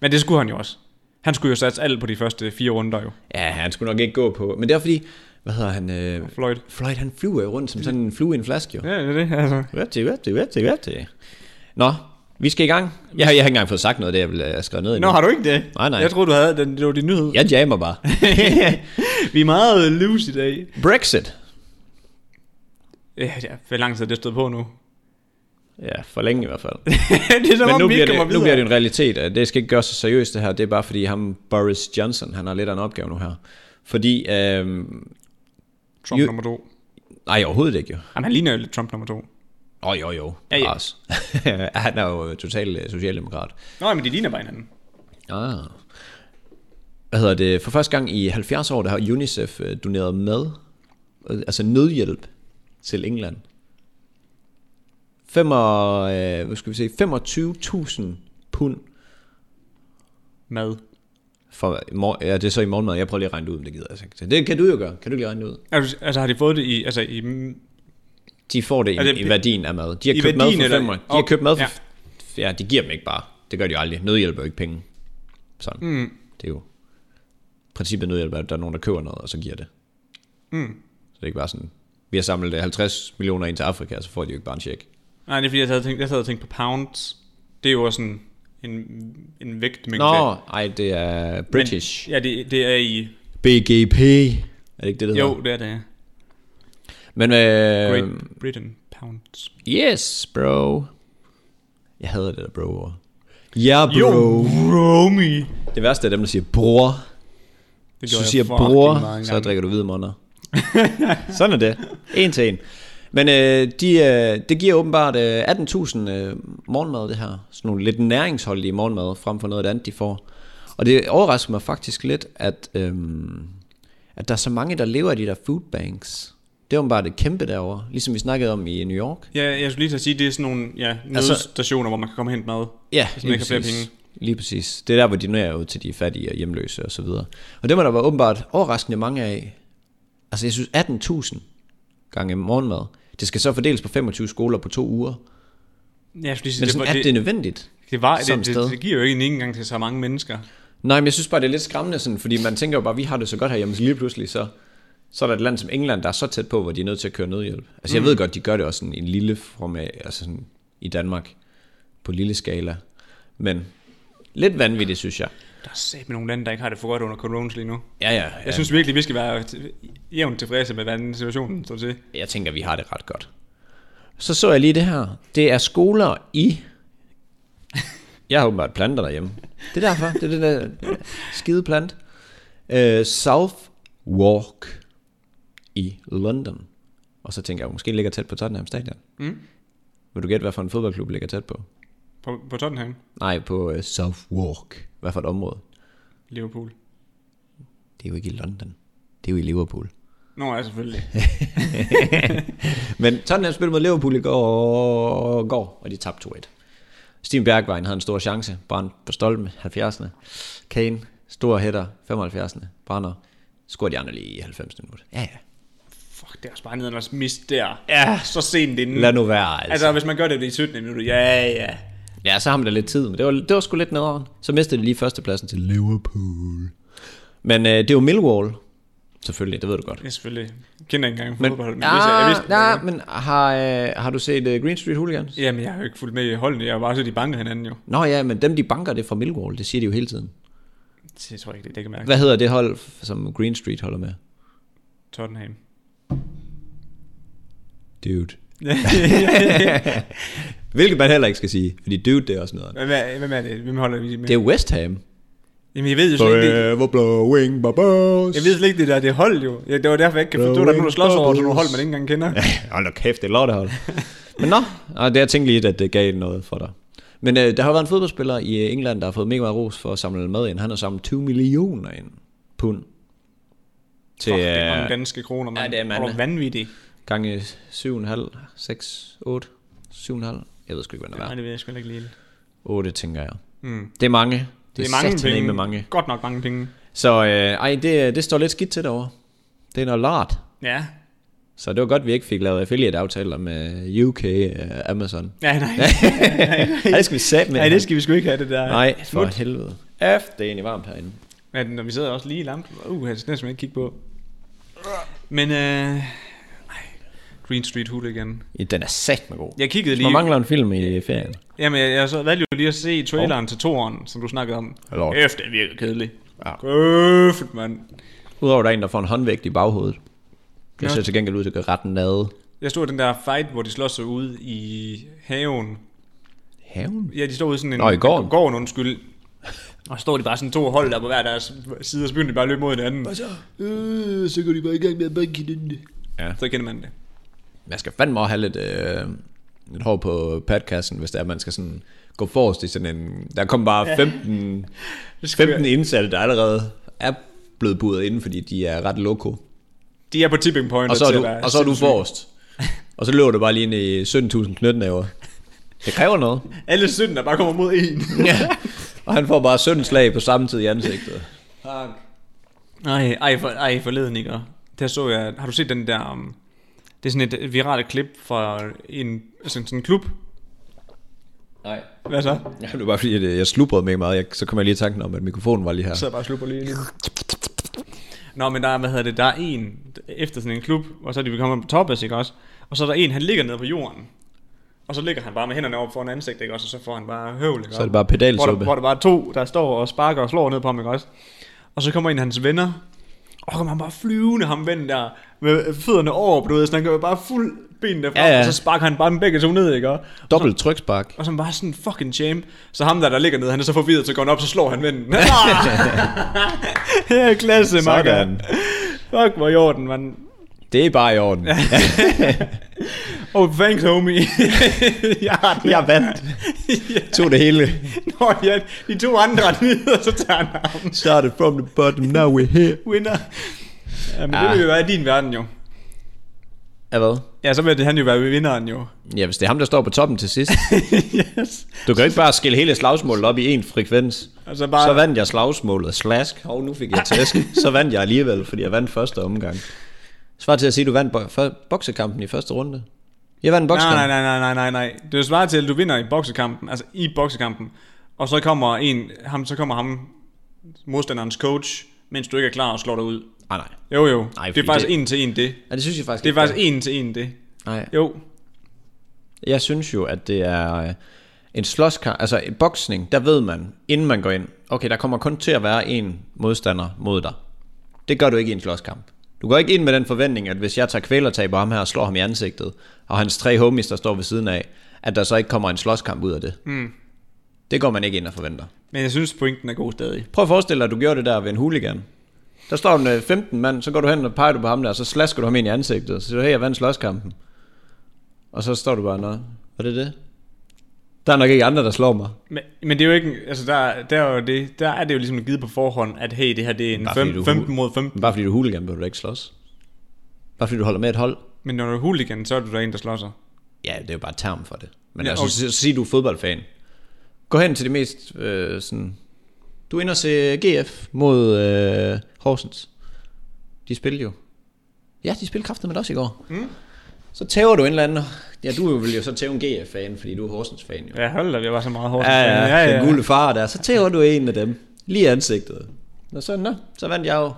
Men det skulle han jo også. Han skulle jo satse alt på de første fire runder jo. Ja, han skulle nok ikke gå på. Men det er fordi, hvad hedder han? Øh, Floyd. Floyd, han flyver jo rundt som sådan en flue i en flaske jo. Ja, det er det, altså. Rigtig, rigtig, rigtig, rigtig. Nå, vi skal i gang. Jeg, har- jeg har ikke engang fået sagt noget af det, jeg ville have skrevet ned Nå, endnu. har du ikke det? Nej, nej. Jeg troede, du havde den. Det var din nyhed. Jeg jammer bare. Vi er meget øh, loose i dag. Brexit. Ja, ja. Hvor lang tid er det stået på nu? Ja, for længe i hvert fald. det er som Men om, nu vi bliver, ikke det, kommer nu bliver videre. det en realitet. at Det skal ikke gøre så seriøst det her. Det er bare fordi ham Boris Johnson, han har lidt af en opgave nu her. Fordi, øhm, Trump Jo- nummer to. nej overhovedet ikke jo. Jamen, han ligner jo lidt Trump nummer to. Åh oh, jo jo, Ja, ja. Bevares. han er jo total øh, socialdemokrat. Nå, men de ligner bare hinanden. Ah. Hvad hedder det? For første gang i 70 år, der har UNICEF øh, doneret mad, øh, altså nødhjælp til England. Fem og, øh, hvad skal vi sige, 25.000 pund Mad. for, i mor- ja, det er så i morgenmad. Jeg prøver lige at regne det ud, om det gider jeg altså ikke. Det kan du jo gøre. Kan du ikke lige regne det ud? Altså, altså, har de fået det i... Altså, i De får det, i, Er det- i værdien af mad. De har I købt mad værdien, for eller- fem De har Okay, købt mad for... ja. Ja. ja, de giver dem ikke bare. Det gør de jo aldrig. Nødhjælp er jo ikke penge. Sådan. Mm. Det er jo... Princippet nødhjælp er, at der er nogen, der køber noget, og så giver det. Mm. Så det er ikke bare sådan... Vi har samlet øh, 50 millioner ind til Afrika, og så får de jo ikke bare en check. Nej, det er fordi, jeg sad og tænkte, jeg sad og tænkte på pounds. Det er jo også sådan en, en vægtmængde. Nå, ej, det er British. Men, ja, det, det er i... BGP. Er det ikke det, det hedder? Jo, det er det. Men Great øh, Britain pounds. Yes, bro. Jeg hader det der bro Ja, bro. Romy. Det værste er dem, der siger bror. Det Hvis du siger bror, så drikker du hvide måneder. Sådan er det. En til en. Men øh, de, øh, det giver åbenbart øh, 18.000 øh, morgenmad, det her. Sådan nogle lidt næringsholdige morgenmad, frem for noget andet, de får. Og det overrasker mig faktisk lidt, at, øh, at der er så mange, der lever af de der food banks. Det er åbenbart et kæmpe derovre, ligesom vi snakkede om i New York. Ja, jeg skulle lige til at sige, det er sådan nogle ja, Altså- nødstationer, hvor man kan komme og hente mad. Ja, Hvis man ikke har flere penge. Lige præcis. Det er der, hvor de donerer ud til de fattige og hjemløse og så videre. Og det må der være åbenbart overraskende mange af. Altså jeg synes 18.000 gange morgenmad. Det skal så fordeles på 25 skoler på to uger. Ja, jeg skulle lige Men sige, sådan, det, er det, det, det, det nødvendigt? det, var, som det, sted? det, det, giver jo ikke en indgang til så mange mennesker. Nej, men jeg synes bare, det er lidt skræmmende, sådan, fordi man tænker jo bare, vi har det så godt herhjemme, så lige pludselig så, så er der et land som England, der er så tæt på, hvor de er nødt til at køre nødhjælp. Altså Mm. jeg ved godt, de gør det også sådan i en lille format, altså sådan i Danmark, på lille skala. Men lidt vanvittigt, synes jeg. Der er sæt med nogle lande, der ikke har det for godt under corona lige nu. Ja, ja. Jeg synes virkelig, vi skal være til- jævnt tilfredse med, hvordan situationen står til. jeg tænker, vi har det ret godt. Så så jeg lige det her. Det er skoler i... Jeg har åbenbart planter derhjemme. Det er derfor. Det er det der skide plant. Uh, South Walk i London. Og så tænker jeg, måske ligger tæt på Tottenham Stadion. Mm. Vil du gætte, hvad for en fodboldklub ligger tæt på? På, på Tottenham, Nej, på uh, South Walk. Hvad for et område? Liverpool. Det er jo ikke i London. Det er jo i Liverpool. Nå, ja, selvfølgelig. Men Tottenham spillede mod Liverpool i går, går og de tabte 2-1. Steven Bergwijn havde en stor chance. Brændt på stolpen, 70'erne. Kane, stor hætter, 75'erne. Brænder. Scorede de andre lige i 90. minut. Ja, ja. Fuck, det er også bare nede og mist der. Ja. Så sent inden. Lad nu være, altså. Altså, hvis man gør det i 17 minutter, ja, ja. Ja, så har man da lidt tid, men det var, det var sgu lidt nederen. Så mistede de lige førstepladsen til Liverpool. Men øh, det er jo Millwall. Selvfølgelig, det ved du godt. Ja, selvfølgelig. Jeg kender ikke engang Men, fodbold, men, ah, hvis jeg, jeg vidste, nej, men har, øh, har du set øh, Green Street Hooligans? Jamen, jeg har jo ikke fulgt med i holdene. Jeg har bare set, de banker hinanden jo. Nå ja, men dem de banker det er fra Millwall, det siger de jo hele tiden. Så jeg tror ikke, det, det kan mærke. Hvad hedder det hold, som Green Street holder med? Tottenham. Dude. Hvilket man heller ikke skal sige, fordi dude, det er også noget. Hvem er, hvem er det? Hvem holder vi med? Det er West Ham. Jamen, jeg ved jo slet ikke, det, blowing bubbles. jeg ved slet ikke, det der det hold jo. Ja, det var derfor, jeg ikke kan forstå, at der er nogen, der slås over sådan nogle hold, man ikke engang kender. Hold da kæft, det er lort hold. Men nå, og det jeg tænkte lige, at det gav noget for dig. Men øh, der har jo været en fodboldspiller i øh, England, der har fået mega meget ros for at samle mad ind. Han har samlet 20 millioner ind pund. Til Fuck, det er øh, mange danske kroner, man. Ja, det er mange. Og vanvittigt. gange 7,5, 6, 8, 7,5. Jeg ved sgu ikke, hvad det Nej, er. det ved jeg sgu heller ikke lige. 8, tænker jeg. Mm. Det er mange. Mm. Det, Det er mange sataneme penge. mange. Godt nok mange penge. Så øh, ej, det, det står lidt skidt til derovre. Det er noget lart. Ja. Så det var godt, vi ikke fik lavet affiliate-aftaler med UK øh, Amazon. Ja, nej. nej, Ej, det skal vi sætte med. nej, det skal vi sgu ikke have, det der. Nej, for Smut. helvede. F, det er egentlig varmt herinde. Men når vi sidder også lige i lampen. Uh, det er næsten ikke kigge på. Men øh, ej, Green Street Hooligan. Ja, Den er sat med god. Jeg kiggede Man lige... mangler en film i ferien. Jamen, jeg, jeg så valgte jo lige at se traileren oh. til toeren, som du snakkede om. Lort. Efter det virker kedeligt. Ja. Kæft, mand. Udover der er en, der får en håndvægt i baghovedet. Det Ja. ser til gengæld ud til at gøre ret nade. Jeg stod i den der fight, hvor de slår sig ude i haven. Haven? Ja, de står ude i sådan en... Nå, i gården. Gården, undskyld. Og så står de bare sådan to hold der på hver deres side, og så begynder de bare at løbe mod hinanden. så? Øh, så går de bare i gang med at banke den. Ja. Så kender man det. Man skal fandme også have lidt, øh, lidt hår på podcasten, hvis det er, man skal sådan gå forrest i sådan en... Der kom bare 15, skal 15 indsatte, der allerede er blevet budet inden, fordi de er ret loko. De er på tipping point. Og så er til at du, være og så er du sindssyge. forrest. Og så løber du bare lige ind i 17.000 knytnæver. Det kræver noget. Alle synden, der bare kommer mod en. Ja. Og han får bare 17 slag på samme tid i ansigtet. Tak. Nej, ej, for, ej forleden ikke. og Der så jeg, har du set den der, um, det er sådan et viralt klip fra en, sådan, sådan en klub. Nej. Hvad så? Ja, det var bare fordi, at øh, jeg slubrede mig meget. Jeg, så kom jeg lige i tanken om, at mikrofonen var lige her. Så jeg bare og slupper lige nu. Nå, men der er, hvad hedder det, der er en efter sådan en klub, og så er de kommet på toppen, ikke også? Og så er der en, han ligger nede på jorden. Og så ligger han bare med hænderne over foran ansigt, ikke også? Og så får han bare høvl, ikke Så er det bare pedalsuppe. Hvor der, hvor der bare er to, der står og sparker og slår ned på ham, ikke også? Og så kommer en af hans venner, og så kommer han bare flyvende ham ven der, med fødderne over, du ved, sådan han går bare fuld ben derfra, Ja, ja, ja. ja. og så sparker han bare dem begge to ned, ikke også? Dobbelt trykspark. Og så bare sådan en fucking champ. Så ham der, der ligger nede, han er så forvirret, så går han op, så slår han vennen. Ah! ja, klasse, Sådan. Marker. Fuck, hvor i orden, mand. Det er bare i orden. Oh, thanks, homie. jeg har den. Jeg vandt. Tog det hele. Nå, ja, de to andre er nede, og så tager han ham. Started from the bottom, now we're here. Winner. Jamen, ah. Ah. det vil jo være i din verden, jo. Ja, hvad? Ja, så vil det, han jo være vinderen, jo. Ja, hvis det er ham, der står på toppen til sidst. yes. Du kan jo ikke bare skille hele slagsmålet op i én frekvens. Og så bare... Så vandt jeg slagsmålet. Slask. Hov, nu fik jeg tæsk. Så vandt jeg alligevel, fordi jeg vandt første omgang. Svar til at sige, at du vandt bo- før- boksekampen i første runde. Jeg vandt en boksekamp. Nej, nej, nej, nej, nej, nej. Det er jo svaret til, at du vinder i boksekampen, altså i boksekampen, og så kommer en, ham, så kommer ham, modstanderens coach, mens du ikke er klar og slår dig ud. nej. Ah, nej. Jo, jo. Nej, det fordi er faktisk det- en til en det. Ja, det synes jeg faktisk Det er ikke, faktisk en til en det. Nej. Jo. Jeg synes jo, at det er øh, en slåskamp, altså i boksning, der ved man, inden man går ind, okay, der kommer kun til at være en modstander mod dig. Det gør du ikke i en slåskamp. Du går ikke ind med den forventning, at hvis jeg tager kvælertag på ham her og slår ham i ansigtet, og hans tre homies, der står ved siden af, at der så ikke kommer en slåskamp ud af det. Mm. Det går man ikke ind og forventer. Men jeg synes, pointen er god stadig. Prøv at forestille dig, at du gjorde det der ved en hooligan. Der står en øh, 15 mand, så går du hen og peger du på ham der, og så slasker du ham ind i ansigtet, og så siger du, hey, jeg vandt slåskampen. Og så står du bare, nå, var det det? Der er nok ikke andre, der slår mig. Men, men det er jo ikke, altså der, der, er jo det, der er det jo ligesom givet på forhånd, at hey, det her det er en Bare fordi du- fem, 15 mod 15. Men bare fordi du er hooligan, vil du da ikke slås. Bare fordi du holder med et hold. Men når du er hooligan, så er du der en, der slår sig. Ja, det er jo bare et term for det. Men Ja, ja, altså, okay. sig, du er fodboldfan. Gå hen til det mest øh, sådan... Du er inde og se GF mod øh, Horsens. De spillede jo. Ja, de spillede kraftigt med også i går. Mm. Så tæver du en eller anden. Ja, du vil jo så tæve en GF-fan, fordi du er Horsens-fan jo. Ja, hold da, vi var så meget hårdt. Ja, ja, ja, ja. Den gule far der. Så tæver du en af dem. Lige i ansigtet. Nå, så, nå, så vandt jeg jo.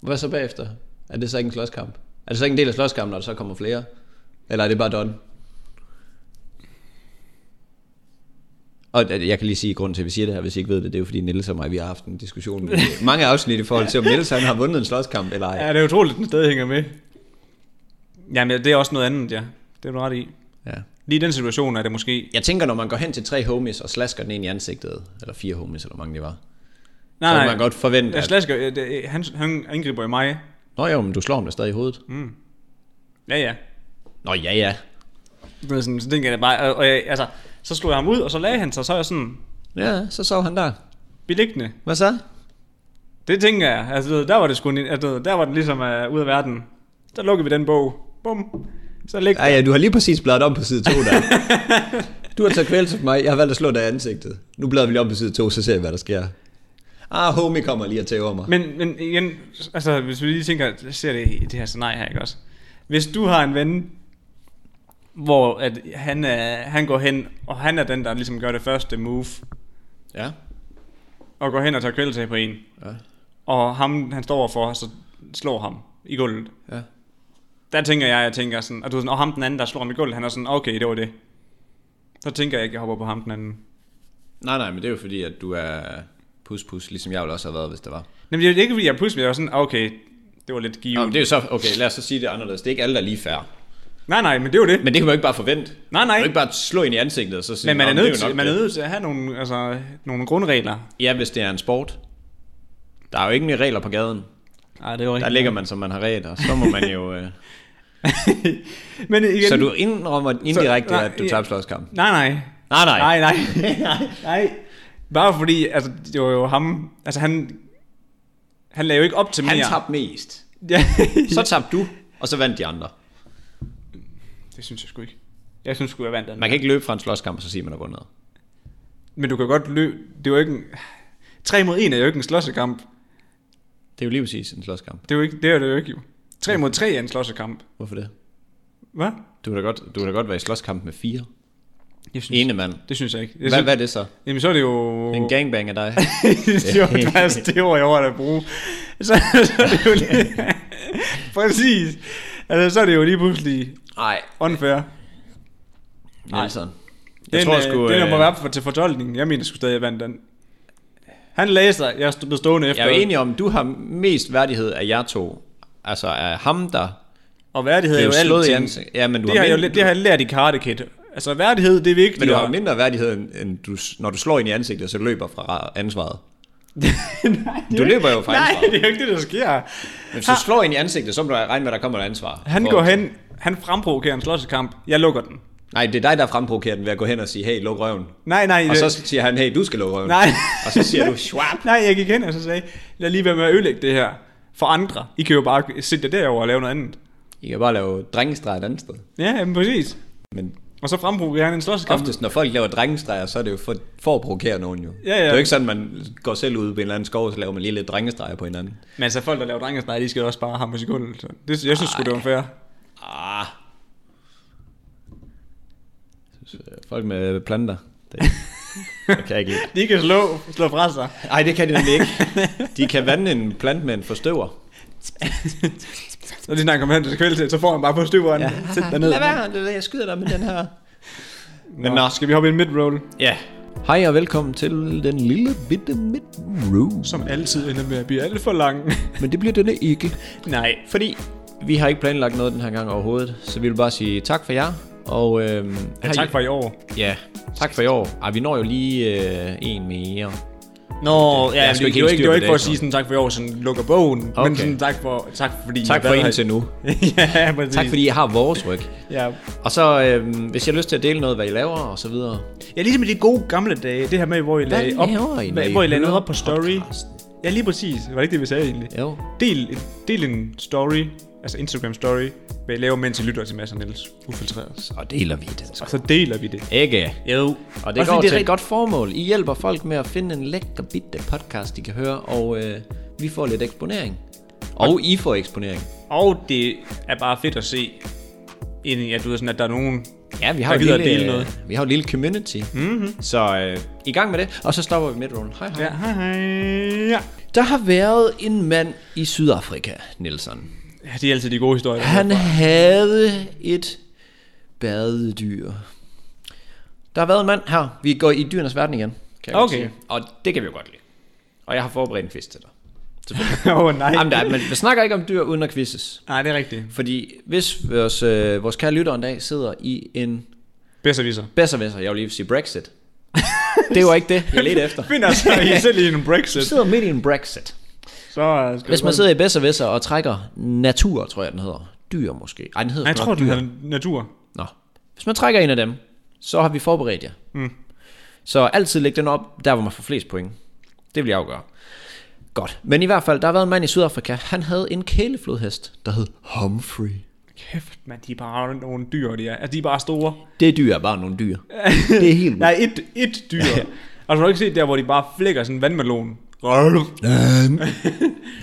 Hvad så bagefter? Er det så ikke en slåskamp? Er det så ikke en del af slåskampen, når der så kommer flere? Eller er det bare done? Og øh, jeg kan lige sige grunden til, at vi siger det her, hvis I ikke ved det, det er jo fordi Niels og mig, vi har haft en diskussion med mange afsnit i forhold til, om Niels han har vundet en slåskamp eller ej. Ja, det er utroligt, den stadig hænger med. Jamen, det er også noget andet, ja. Det er du ret i. Ja. Lige i den situation er det måske... Jeg tænker, når man går hen til tre homies og slasker den ind i ansigtet, eller fire homies, eller hvor mange det var, så Nej, kan man nej. godt forvente, Jeg at... slasker, øh, det, han, han angriber i mig. Nå jo, men du slår ham da stadig i hovedet. Ja, ja. Nå ja, ja. Du ved, sådan, så tænker jeg bare... Og, og jeg, altså, Så slog jeg ham ud, og så lagde han sig, så er jeg sådan, Ja, så sov han der. beliggende. Hvad så? Det tænker jeg. Altså, du ved, der var det sgu, en- altså, du ved, der var det ligesom uh, ud af verden. Der lukker vi den bog. Bum. Så ligger Ej, ja, du har lige præcis bladet om på side 2 der. Du har taget kvæls for mig, jeg har valgt at slå dig i ansigtet. Nu bladrer vi lige om på side 2, så ser vi, hvad der sker. Ah, homie kommer lige og tæver mig. Men, men igen, altså, hvis vi lige tænker, ser det i det her scenarie her, ikke også? Hvis du har en ven, hvor at han, er, han går hen, og han er den, der ligesom gør det første move, Ja. og går hen og tager kvældtag på en, Ja. og ham, han står overfor, så slår ham i gulvet. Ja. Der tænker jeg, jeg tænker sådan, og, du er sådan, og ham den anden, der slår ham i gulvet, han er sådan, okay, det var det. Så tænker jeg ikke, jeg hopper på ham den anden. Nej, nej, men det er jo fordi, at du er pus-pus, ligesom jeg ville også have været, hvis det var. Jamen, det er ikke, fordi jeg pludselig var sådan, okay, det var lidt givet. Nå, men det er jo så, okay, lad os så sige det anderledes. Det er ikke alle, der er lige færre. Nej, nej, men det var det. Men det kan man jo ikke bare forvente. Nej, nej. Man kan jo ikke bare slå ind i ansigtet og så sige, Men man er, "Nå, det nødt jo nok til, man er det." nødt til at have nogle, altså, nogle grundregler. Ja, hvis det er en sport. Der er jo ingen regler på gaden. Nej, det er jo Der ligger man, som man har regler, og så må man jo... Øh... Men igen, Så du indrømmer indirekte, nej, at du ja. tabte slåskampen? Nej, nej. Nej, nej. Nej, nej. nej. Bare fordi, altså, det var jo ham, altså han, han lagde jo ikke op til Han mere. tabte mest. Ja. Så tabte du, og så vandt de andre. det synes jeg sgu ikke. Jeg synes sgu, jeg vandt den. Man kan ikke løbe fra en slåskamp, og så sige, at man har vundet. Men du kan godt løbe, det var ikke en, 3 mod 1 er jo ikke en slåssekamp. Det er jo lige præcis en slåskamp. Det er jo ikke, det er det jo ikke jo. 3 mod 3 er en slåssekamp. Hvorfor det? Hvad? Du kan da godt, du kan da godt være i slåskamp med fire. Jeg synes, Ene mand. Det synes jeg ikke. Jeg Hvad, synes, hvad er det så? Jamen så er det jo... En gangbang af dig? det var det værste det ord, jeg overhovedet at bruge. Så, så er det jo lige... Præcis. Altså, så er det jo lige pludselig Nej, unfair. Nelson. Den, Jeg tror sgu... øh, den må øh, være for, til fortolkningen. Jeg mener sgu stadig, jeg vandt den. Han lagde sig. Jeg stod blev stående efter. Jeg er jo enig om, du har mest værdighed af jer to. Altså af ham, der Og værdighed er blev jo slået i alting. ansigtet. Ja, men du Det har, har, jeg jo, mindre, lidt- det har jeg lært i Karate Kid. Altså, værdighed, det er vigtigt. men du har mindre værdighed, end, end du, s- når du slår ind i ansigtet, så løber fra ansvaret. Du løber jo fra Nej, ansvaret. det er jo ikke det, der sker. Men hvis du slår ind i ansigtet, så må du regne med, at der kommer et ansvar. Han For- går hen, han fremprovokerer en slåssekamp. Jeg lukker den. Nej, det er dig, der fremprovokerer den ved at gå hen og sige, hey, luk røven. Nej, nej. Og det- så siger han, hey, du skal lukke røven. Øh. Nej. Og så siger du, schwab. Nej, jeg gik hen og så sagde, lad lige være med at ødelægge det her for andre. I kan jo bare sætte jer derover og lave noget andet. I kan bare lave drengestreger et andet sted. Ja, jamen, præcis. Men Og så frembrugte han en slåskamp. oftest, når folk laver drengestreger, så er det jo for, for at provokere nogen jo. ja. Det er jo ikke sådan, man går selv ud på en eller anden skov, og så laver man lige lidt drengestreger på hinanden. Men altså, folk, der laver drengesnej, de skal også bare have på sekundet. Så det, jeg synes sgu, det var fair. Ah. Folk med planter. Det, det kan jeg ikke lide. De kan slå, slå fra sig. Ej, det kan de nemlig ikke. De kan vande en plant med en forstøver. Så lige snart kommer hen til kvalitet, så får han bare på støveren. Ja. Sæt dig ned. være, jeg skyder dig med den her. Men Nå. nå, skal vi hoppe i en midroll? Ja. Hej og velkommen til den lille bitte midroom. Som altid ender med at blive alt for lang. Men det bliver denne ikke. Nej. Fordi vi har ikke planlagt noget den her gang overhovedet, så vi vil bare sige tak for jer. Og øhm, Ja, tak for i år. Ja, tak for i år. Ej, vi når jo lige øh, en mere. Nå, ja, jeg er det, sgu det, ikke det, var helt ikke, styr på det var ikke for datoen. at sige sådan tak for i år, sådan lukker bogen. Okay. Okay. Men sådan tak for, tak fordi... Tak for indtil nu. ja, præcis. Tak fordi I har vores ryg. Ja, Og så, øhm, hvis I har lyst til at dele noget, hvad I laver og så videre. Ja, ligesom i de gode gamle dage, det her med, hvor I Hvad lagde op, laver I, når hvad- I hvor I lagde noget hører op på story. podcasten? Ja, lige præcis. Var det ikke det, vi sagde egentlig? Jo. Del, del en story, altså Instagram story, hvad I laver, mens I lytter til Mads og Niels. Ufiltreret. Så deler vi det. Og så deler vi det. Ikke? Jo. Og det Også går det til et godt formål. I hjælper folk med at finde en lækker bitte podcast, de kan høre, og øh, vi får lidt eksponering. Og I får eksponering. Og det er bare fedt at se, inden jeg ved sådan, at der er nogen... Ja, vi Der har, jo gider lille, at dele noget. vi har jo et lille community. Mm-hmm. Så øh, i gang med det, og så stopper vi midtrollen. Hej, hej. Ja, hej, hej. Ja. Der har været en mand i Sydafrika, Nielsen. ja det er altid de gode historier. Han havde et badedyr. Der har været en mand her. Vi går i dyrenes verden igen. Kan jeg godt Okay. sige. Og det kan vi jo godt lide. Og jeg har forberedt en quiz til dig. Åh, oh, nej. Jamen, der, men vi snakker ikke om dyr uden at quizzes. Nej, det er rigtigt. Fordi hvis vores, øh, vores kære lytter en dag sidder i en Bedst viser. bedre jeg vil lige sige Brexit. det var ikke det, jeg ledte efter. Finder sig i selv i en Brexit. Du sidder midt i en Brexit. Så øh, skal Hvis du- man sidder i bedre visser og trækker natur, tror jeg den hedder. Dyr måske. Ej, den hedder Nej, jeg sgu tror, nok den dyr. hedder natur. Nå. Hvis man trækker en af dem, så har vi forberedt jer. Mm. Så altid læg den op, der hvor man får flest point. Det vil jeg jo gøre. Godt. Men i hvert fald, der har været en mand i Sydafrika. Han havde en kæleflodhest, der hed Humphrey. Kæft, man, de er bare nogle dyr, de er. Altså, de er bare store. Det dyr er bare nogle dyr. Det er helt vildt. Nej, et, et dyr. altså, har du ikke set der, hvor de bare flækker sådan en vandmelon?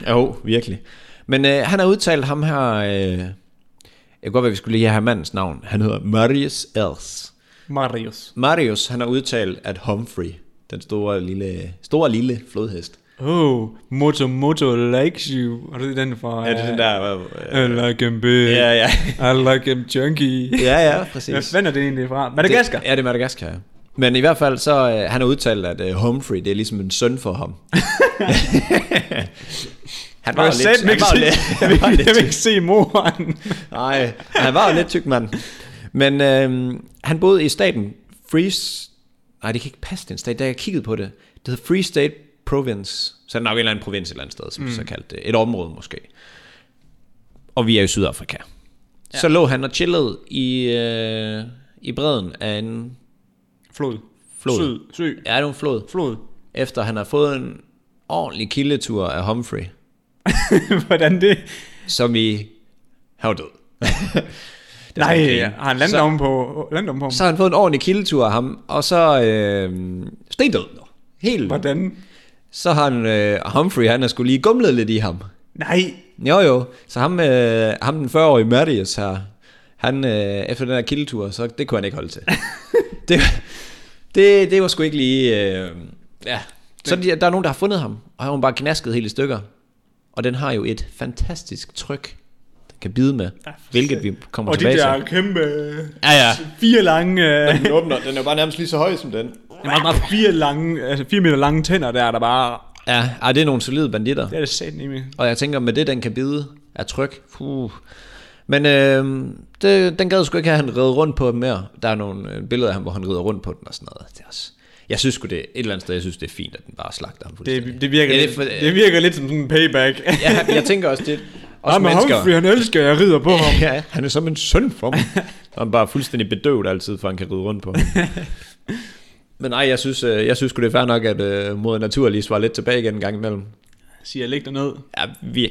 Jo, virkelig. Men øh, han har udtalt ham her... Øh, jeg kan godt være, vi skulle lige have mandens navn. Han hedder Marius Els. Marius. Marius, han har udtalt, at Humphrey, den store lille, store lille flodhest. Oh, Moto Moto likes you. Og det er den fra... øh, der... øh, I like him big. Ja, ja. I like him chunky. Ja, ja, Hvad præcis. fanden er det egentlig fra? Madagaskar? Det, ja, det er Madagaskar, ja. Men i hvert fald, så øh, han har udtalt, at øh, Humphrey, det er ligesom en søn for ham. han var jo Jeg lidt... sagde, Han ikke var jo se, lidt... jeg, Han vil, var jo jeg vil lidt ikke se moren. nej, han var jo lidt tyk mand. Men øh, han boede i staten Freeze... Nej, det kan ikke passe den stat, da jeg kiggede på det. Det hedder Free State Province. Så er det nok en eller anden provins et eller andet sted, som mm. så kaldte det. Et område måske. Og vi er i Sydafrika. Ja. Så lå han og chillede i, øh, i bredden af en... Flod. Flod. Sød. Sø. Ja, det var en flod. Flod. efter han har fået en ordentlig kildetur af Humphrey, Hvordan det? som i har død. Det er Nej, sådan, okay. har han landet oven på, landet oven på ham? Så har han fået en ordentlig kildetur af ham, og så øh, stendød. Helt. Hvordan? Så har han, øh, Humphrey, han har skulle lige gumlet lidt i ham. Nej. Jo jo, så ham, øh, ham den 40-årige Marius her, han øh, efter den her kildetur, så det kunne han ikke holde til. det, det, det var sgu ikke lige... Øh, ja. Så de, der er nogen, der har fundet ham, og han har bare gnasket helt i stykker. Og den har jo et fantastisk tryk, den kan bide med, hvilket vi kommer Og de tilbage der til. kæmpe... Ja, ja. Fire lange... øh, Den åbner, den er bare nærmest lige så høj som den. Det er bare fire, lange, altså fire meter lange tænder der, der bare... Ja, ej, det er nogle solide banditter. Det er det satan i mig. Og jeg tænker, med det, den kan bide af tryk. Puh. Men øh, det, den gad sgu ikke have, at han redde rundt på den mere. Der er nogle øh, billeder af ham, hvor han rider rundt på den og sådan noget. Det er også... Jeg synes sgu det, et eller andet sted, jeg synes det er fint, at den bare slagter ham fuldstændig. Det, det, virker, ja, ja, det, er for, det virker lidt som sådan en payback. ja, jeg tænker også, det også Også men Humphrey, han elsker, at jeg rider på ham. Ja, han er som en søn for mig. Så er han bare fuldstændig bedøvet altid, for han kan ride rundt på ham. Men nej, jeg synes, øh, jeg synes sgu det er fair nok, at øh, mod natur lige svarer lidt tilbage igen en gang imellem. Siger jeg, læg dig ned. Ja, vi,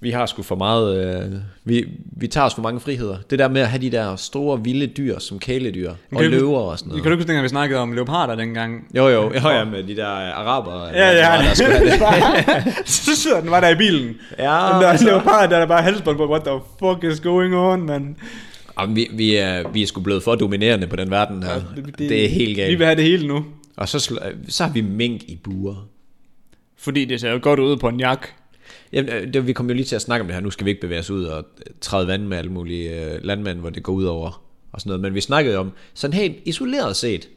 vi har sgu for meget... Øh, vi, vi tager os for mange friheder. Det der med at have de der store, vilde dyr, som kæledyr og kan du- løver og sådan Kan noget. du ikke huske, dengang vi snakkede om leoparder dengang? Jo, jo, jo, ja, med de der øh, araber. eller Ja, hvad det var, ja. der skulle have det. så sidder den bare der i bilen. Ja, den der altså. leopard, der er bare halsbånd på. What the fuck is going on, man? Jamen, vi, vi, er, vi er sgu blevet for dominerende på den verden her. Ja, det, det, er helt Vi galt. vil have det hele nu. Og så, sl- øh, så har vi mink i buer. Fordi det ser jo godt ud på en jak. Jamen, øh, det, vi kommer jo lige til at snakke om det her. Nu skal vi ikke bevæge os ud og øh, træde vand med alle mulige øh, landmænd, hvor det går ud over og sådan noget. Men vi snakkede om, sådan helt isoleret set,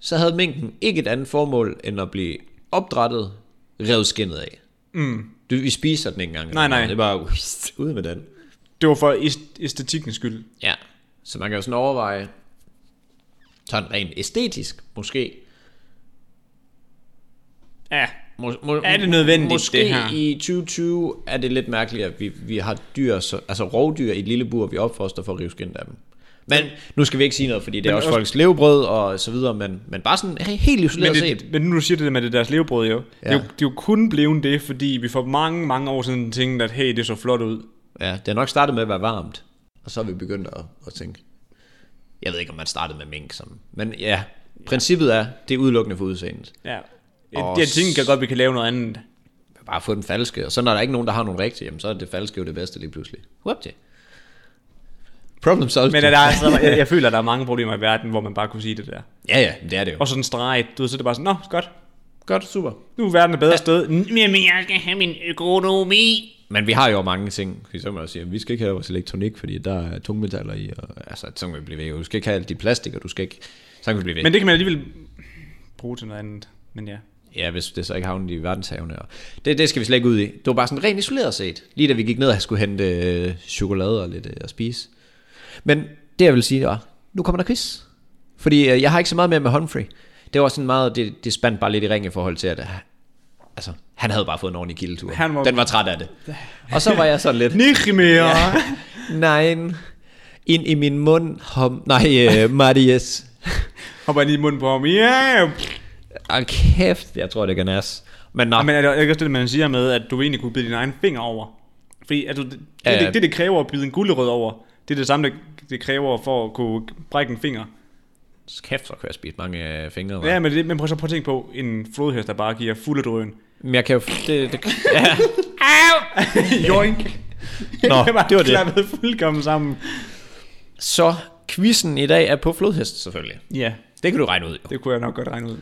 så havde minken ikke et andet formål, end at blive opdrættet, revet skinnet af. Mm. Du, vi spiser den ikke engang. Nej, nej. Det er bare uh, ud med den. Det var for æst- æstetikkens skyld. Ja, så man kan jo sådan overveje, sådan rent æstetisk måske, Ja. Mås- må- Er det nødvendigt, måske det her? i 2020 er det lidt mærkeligt, at vi, vi har dyr, så, altså rovdyr i et lille bur, vi opfoster for at rive skindet af dem. Men nu skal vi ikke sige noget, fordi det er Men også, også- folks levebrød og så videre, men, men bare sådan he- helt Men, isoleret set. det, men nu du siger det der med det deres levebrød, jo. Ja. Det, er jo, det er jo kun blevet det, fordi vi for mange, mange år siden tænkte, at hey, det så flot ud. Ja, det har nok startet med at være varmt, og så er vi begyndt at, at tænke. Jeg ved ikke, om man startede med mink, som, men ja, princippet er, det er udelukkende for udseendet. Ja. Og Og jeg tænker godt, vi kan lave noget andet. Bare få den falske, og så når der ikke er nogen, der har nogen rigtige, jamen, så er det falske jo det bedste lige pludselig. Whoop det. Problem solved. Men er der, altså, jeg, jeg føler, at der er mange problemer i verden, hvor man bare kunne sige det der. Ja, ja, det er det jo. Og sådan streget, du ved, så er det bare sådan, nå, godt, Godt, super. nu er verden et bedre sted. Men, men jeg skal have min økonomi. Men vi har jo mange ting, fordi så kan man også sige, at vi skal ikke have vores elektronik, fordi der er tungmetaller i, og altså, så kan vi blive ved. Du skal ikke have alle de plastik, og du skal ikke, så kan vi blive ved. Men... Men det kan man alligevel bruge til noget andet. Men ja. Ja, hvis det så ikke havner i verdenshavene. Og det, det skal vi slet ikke ud i. Det var bare sådan rent isoleret set, lige da vi gik ned og skulle hente øh, chokolade og lidt øh, at spise. Men det jeg vil sige var, nu kommer der quiz. Fordi øh, jeg har ikke så meget med med Humphrey. Det var sådan meget, det, det spandt bare lidt i ring i forhold til, at øh, altså, han havde bare fået en ordentlig kildetur. Han var- Den var træt af det. Og så var jeg sådan lidt... Nicht mere! Nein. Ind i min mund, hom... Nej, øh, Marius. Hopper lige i munden på ham. Yeah! Ah, kæft, jeg tror, det kan nas. Men nå, Ja. Men er det ikke også det, man siger med, at du egentlig kunne bide din egen finger over? Fordi altså, det, Ja, ja, ja. ja. Det, det, det kræver at bide en gulderød over, det er det samme, det, det kræver for at kunne brække en finger. kæft, så kan jeg spise mange øh, fingre. hva'? Ja, men, det, men prøv så prøv at tænke på en flodhest, der bare giver fuld af drøen. Men jeg kan jo... Det, det, ja. Joink! Nå, Jeg bare det var det. klappet fuldkommen sammen. Så quizzen i dag er på flodhest, selvfølgelig. Ja, Det kan du regne ud. Jo. det kunne jeg nok godt regne ud.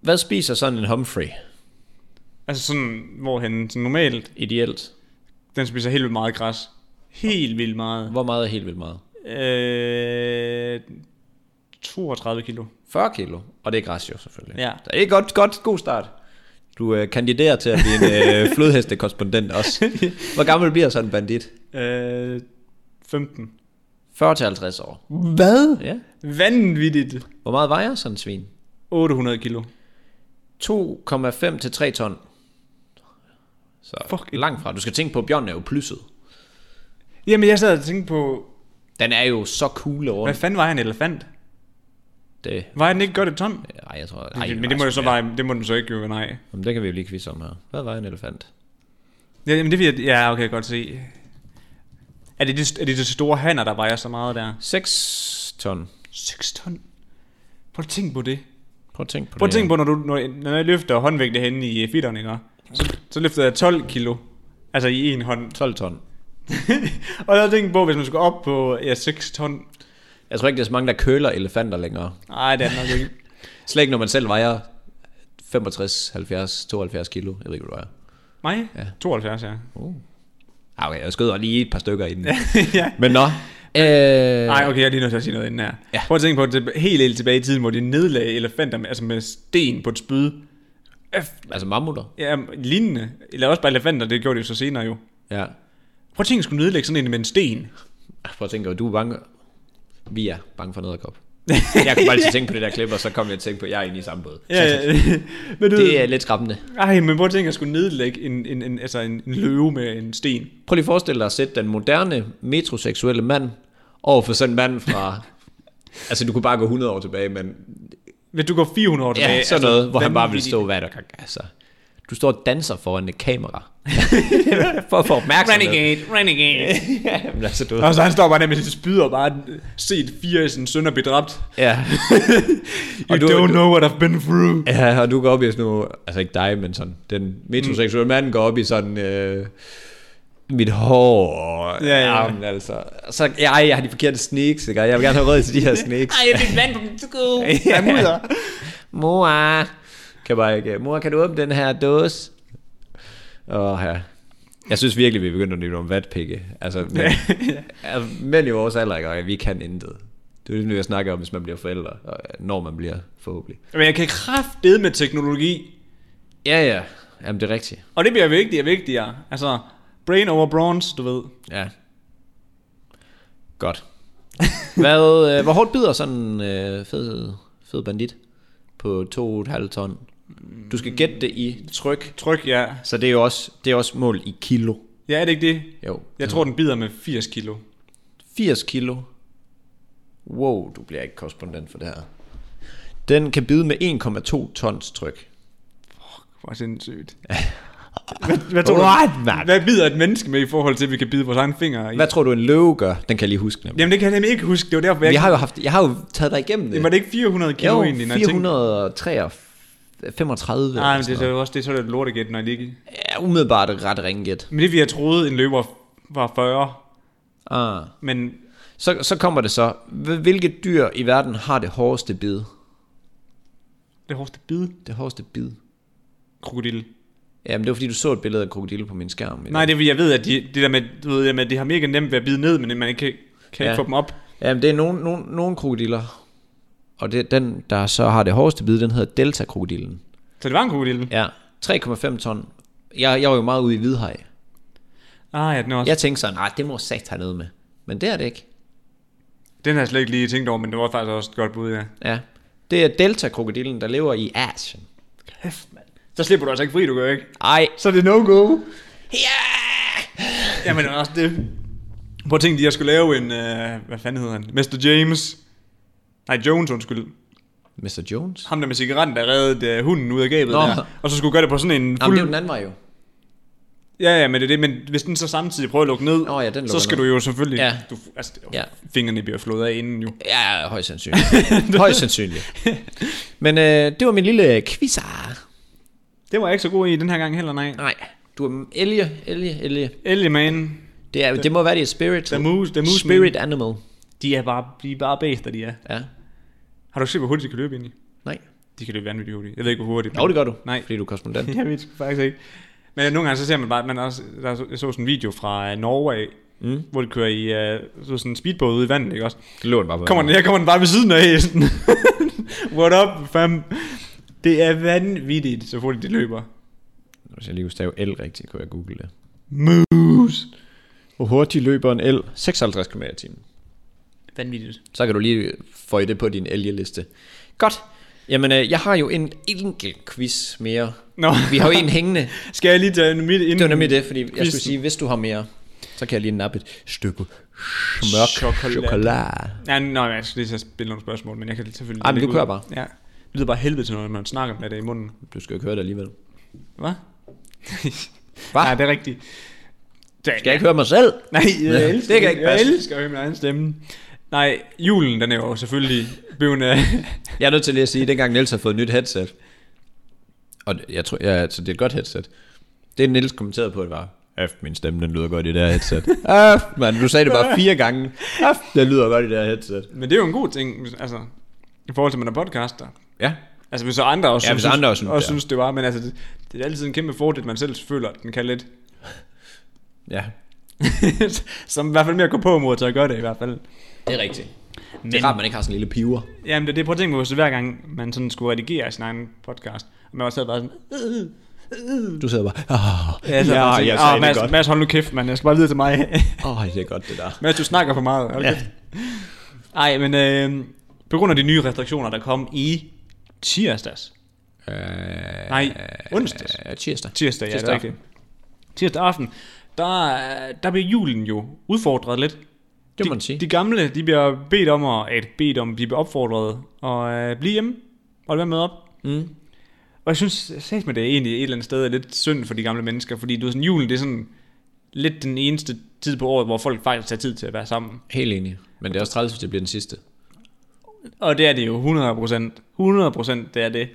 Hvad spiser sådan en Humphrey Altså sådan, hvorhen sådan normalt, ideelt? den spiser helt vildt meget græs. Helt vildt meget. Hvor meget er helt vildt meget? Øh, 32 kilo. 40 kilo, og det er græs jo selvfølgelig. Ja. Det er godt, godt, god start. Du øh, kandiderer til at blive en øh, flodhestekorrespondent også. Hvor gammel bliver sådan en bandit? Øh, 15. 40-50 år. Hvad? Ja. Vanvittigt. Hvor meget vejer sådan en svin? 800 kilo. 2,5 til 3 ton. Så Fuck. langt fra. Du skal tænke på, at bjørnen er jo plysset. Jamen, jeg sad og tænkte på, Den er jo så cool over hvad fanden var en elefant? det. Var den ikke godt et ton? altså, Ej, jeg tror... Ej, Ej, den men det vejer må, jo sgu så mere. bare, det må den så ikke jo, nej. Jamen, det kan vi jo lige quizze om her. Hvad var en elefant? Ja, jamen, det vil jeg, ja, okay, jeg kan godt se. Er det, det, er det det store hanner, der vejer så meget der? 6 ton. 6 ton. Prøv at tænke på det. Prøv at tænke på Prøv at det. tænke på, når, du, når, når jeg løfter håndvægte hen i fitterne, ikke? Så, så løftede jeg 12 kilo. Altså i en hånd. 12 ton. og jeg tænkte på, hvis man skulle op på ja, 6 ton. Jeg tror ikke, der er så mange, der køler elefanter længere. Nej, det er det nok ikke. Slet ikke, når man selv vejer 65, 70, 72 kilo. Jeg ved ikke, hvad du vejer. Nej, Ja. ja. 72, ja. Ah, Okay, jeg skød lige et par stykker inden. ja. Men nå. Øh, Nej, okay, jeg er lige nødt til at sige noget inden her. Ja. Ja. Prøv at tænke på, det helt helt tilbage i tiden, hvor de nedlagde elefanter med, altså med sten på et spyd. Øf, Altså mammutter. Ja, lignende. Eller også bare elefanter, det gjorde de jo så senere jo. Ja. Prøv at tænke, at skulle nedlægge sådan en med en sten. Prøv at tænke, at du er bange. Vi er bange for nederkop. Jeg kunne bare altid tænke på det der klip, og så kom jeg til at tænke på, at jeg er inde i samme båd. Ja, men du, Det det er lidt skræmmende. Ej, men prøv at tænke, at skulle nedlægge en, en, en, altså en, en løve med en sten. Prøv lige at forestille dig at sætte den moderne, metroseksuelle mand over for sådan en mand fra... altså, du kunne bare gå 100 år tilbage, men Hvis du går 400 ja, år tilbage. altså, sådan noget, hvor han bare ville vanvittigt. stå, hvad er der kan... Altså, du står og danser foran et kamera. for at få opmærksomhed. Renegade, renegade. Jamen, altså, du... ved- Og så han står bare der med sit spyd og bare set fire af sine sønner blive dræbt. Ja. You og, du, don't know what I've been through. ja, og du går op i sådan noget... Altså, ikke dig, men sådan... Den metroseksuelle mand går op i sådan... Øh, mit hår og Ja, ja. armen, altså. Så, ja, ej, jeg har de forkerte sneaks, ikke? Og Jeg vil gerne have råd til de her sneaks. Ej, jeg fik vand på min sko. Ja, mudder. Mor, kan bare ikke. Mor, kan du åbne den her dåse? Åh, ja. Jeg synes virkelig, vi er begyndt at nyde om vatpikke. Altså, men, altså, mænd i vores alder, ikke? Og vi kan intet. Det er jo det, jeg snakker om, hvis man bliver forældre, og når man bliver forhåbentlig. Men jeg kan kraftede med teknologi. Ja, ja. Jamen, det er rigtigt. Og det bliver vigtigere og vigtigere. Altså, brain over bronze, du ved. Ja. Godt. Hvad, øh, hvor hårdt bider sådan en øh, fed, fed bandit på 2,5 ton? Du skal gætte det i tryk, Tryk, ja. så det er jo også, det er også mål i kilo. Ja, er det ikke det? Jo. Jeg tror, den bider med 80 kilo. 80 kilo. Wow, du bliver ikke korrespondent for det her. Den kan bide med 1,2 tons tryk. Hvor sindssygt. Hvad, hvad, tror du, man? hvad bider et menneske med i forhold til, at vi kan bide vores egen fingre i? Hvad tror du, en løve gør? Den kan jeg lige huske nemlig. Jamen, det kan jeg nemlig ikke huske. Det var derfor, jeg, Vi ikke- har jo, haft, jeg har jo taget dig igennem det. Jamen, var det ikke 400 kilo jo, egentlig? når jeg tænkte- 435. Nej, Nej, men det er så også det, er så er det lortegæt, når jeg lige... er umiddelbart et ret ringet. Men det vi jeg troede, en løber var 40, Ah. men Så, så kommer det så. Hvil- Hvilket dyr i verden har det hårdeste bid? det hårdeste bid, Det hårdeste bid? krokodil. Jamen, det var fordi, du så et billede af en krokodille på min skærm. i dag. Nej, det er fordi, jeg ved, at de, det der med, du ved, at de har mega nemt ved at bide ned, men man ikke kan, Ja. kan ja. ikke få dem op. Jamen, det er nogle, nogle, nogle krokodiller. Og det, den, der så har det hårdeste bid, den hedder Delta-krokodillen. Så det var en krokodil. Ja. Ja. 3,5 ton. Jeg, jeg var jo meget ude i Hvidhaj. Ah, ja, den er også... Ja. Jeg tænkte sådan, nej, det må sat have noget med. Men det er det ikke. Den har jeg slet ikke lige tænkt over, men det var faktisk også et godt bud, ja. Ja. Det er Delta-krokodillen, der lever i Asien. Kæft, mand. Så slipper du altså ikke fri, du gør, ikke? Ej, Så er det no-go. ja! Jamen også det. Prøv at tænke, jeg skulle lave en, øh, hvad fanden hedder han? Mr. James. Nej, Jones, undskyld. Mr. Jones? Ham der med cigaretten, der reddede øh, hunden ud af gabet Nå. der. Og så skulle gøre det på sådan en Jamen, fuld... det er jo den anden vej jo. Ja, ja, men det er det, men hvis den så samtidig prøver at lukke ned, Nå ja, den lukker så skal ned. du jo selvfølgelig... Ja. Du, altså, Ja. ja. fingrene bliver flået af inden jo. Ja, højst sandsynligt. højst sandsynligt. Men øh, det var min lille quizar. Det var jeg ikke så god i den her gang heller, nej. Nej, du er elge, elge, elge. Elgeman, Det, er, det må være det spirit. The moose- the moose Spirit animal. de er bare, de er bare bæster, de er. Ja, Har du set, hvor hurtigt de kan løbe egentlig? nej. De kan løbe vanvittigt hurtigt. Jeg ved ikke, hvor hurtigt. Jo, det gør du, Nej. fordi du er korrespondent. Jeg ved sgu faktisk ikke. Men nogle gange så ser man bare, at man også, der så, jeg så sådan en video fra øh, Norge, mm. hvor de kører i uh, så sådan en speedbåd ude i vandet, ikke også? Det lå den bare på. Kommer den, her kommer den bare ved siden af hesten. What up, fam? Det er vanvittigt, så hurtigt de løber. Hvis jeg lige kunne stave L rigtigt, kunne jeg google det. Moose. Hvor hurtigt løber en L? 56 km i timen. Vanvittigt. Så kan du lige få det på din elgeliste. Godt. Jamen, øh, jeg har jo en enkelt quiz mere. Nå. Vi har jo en hængende. Skal jeg lige tage midt ind? Det var nemlig det, fordi jeg Quizzen. skulle sige, hvis du har mere, så kan jeg lige nappe et stykke mørk Chokolade. chokolade. chokolade. Ja, nej, jeg skal lige til at spille nogle spørgsmål, men jeg kan selvfølgelig... Ej, men lægge du ud. kører bare. Ja. Det lyder bare helvede til, når man snakker med det i munden. Du skal jo ikke høre det alligevel. Hvad? Hva? Nej, det er rigtigt. Det, Skal jeg ikke høre mig selv? Nej, jeg Ja, elsker, det kan ikke jeg passe. elsker at høre min egen stemme. Nej, julen, den er jo selvfølgelig blevet... øh, Jeg er nødt til lige at sige, at dengang Niels har fået et nyt headset, og det- jeg tror, ja, altså, det er et godt headset, det Niels kommenterede på, det var, Øft, min stemme, den lyder godt i det her headset. Øft, mand, du sagde det bare fire gange. Øft, den lyder godt i det her headset. Men det er jo en god ting, hvis- altså, i forhold til, at man er podcaster. Ja, Altså, hvis så andre også, Ja, hvis andre også synes, også ja. synes, det var, men altså, det, det er altid en kæmpe fordel, at man selv føler, at den kan lidt. ja. Som i hvert fald mere går på mod til at gøre det, i hvert fald. Det er rigtigt. Men... Det er rart, man ikke har sådan en lille piver. Jamen, det er det, prøv at tænke på, hvis hver gang man sådan skulle redigere sin egen podcast, og man også sad bare sådan, øh, Du sidder bare, "Ah." åh, ja, så ja, bare tænkte, "Åh, Mads, Mads, hold nu kæft, mand, jeg skal bare videre til mig. Åh, oh, det er godt det der. Mads, du snakker for meget. Hold ja. Ej, men øh, på grund af de nye restriktioner, der kom i tirsdags. Øh, Nej, onsdags. øh, tirsdag. Tirsdag, Tirsdag ja, tirsdag det er rigtigt. Tirsdag aften. Der, øh, der bliver julen jo udfordret lidt. Det må de, man sige. De gamle, de bliver bedt om at, at bedt om, de bliver opfordret og øh, blive hjemme og være med op. Mm. Og jeg synes, sagt med det er egentlig et eller andet sted er lidt synd for de gamle mennesker, fordi du ved, sådan, julen, det er sådan lidt den eneste tid på året, hvor folk faktisk tager tid til at være sammen. Helt enig. Men det er også træls, hvis det bliver den sidste. Og det er det jo 100%. 100% det er det.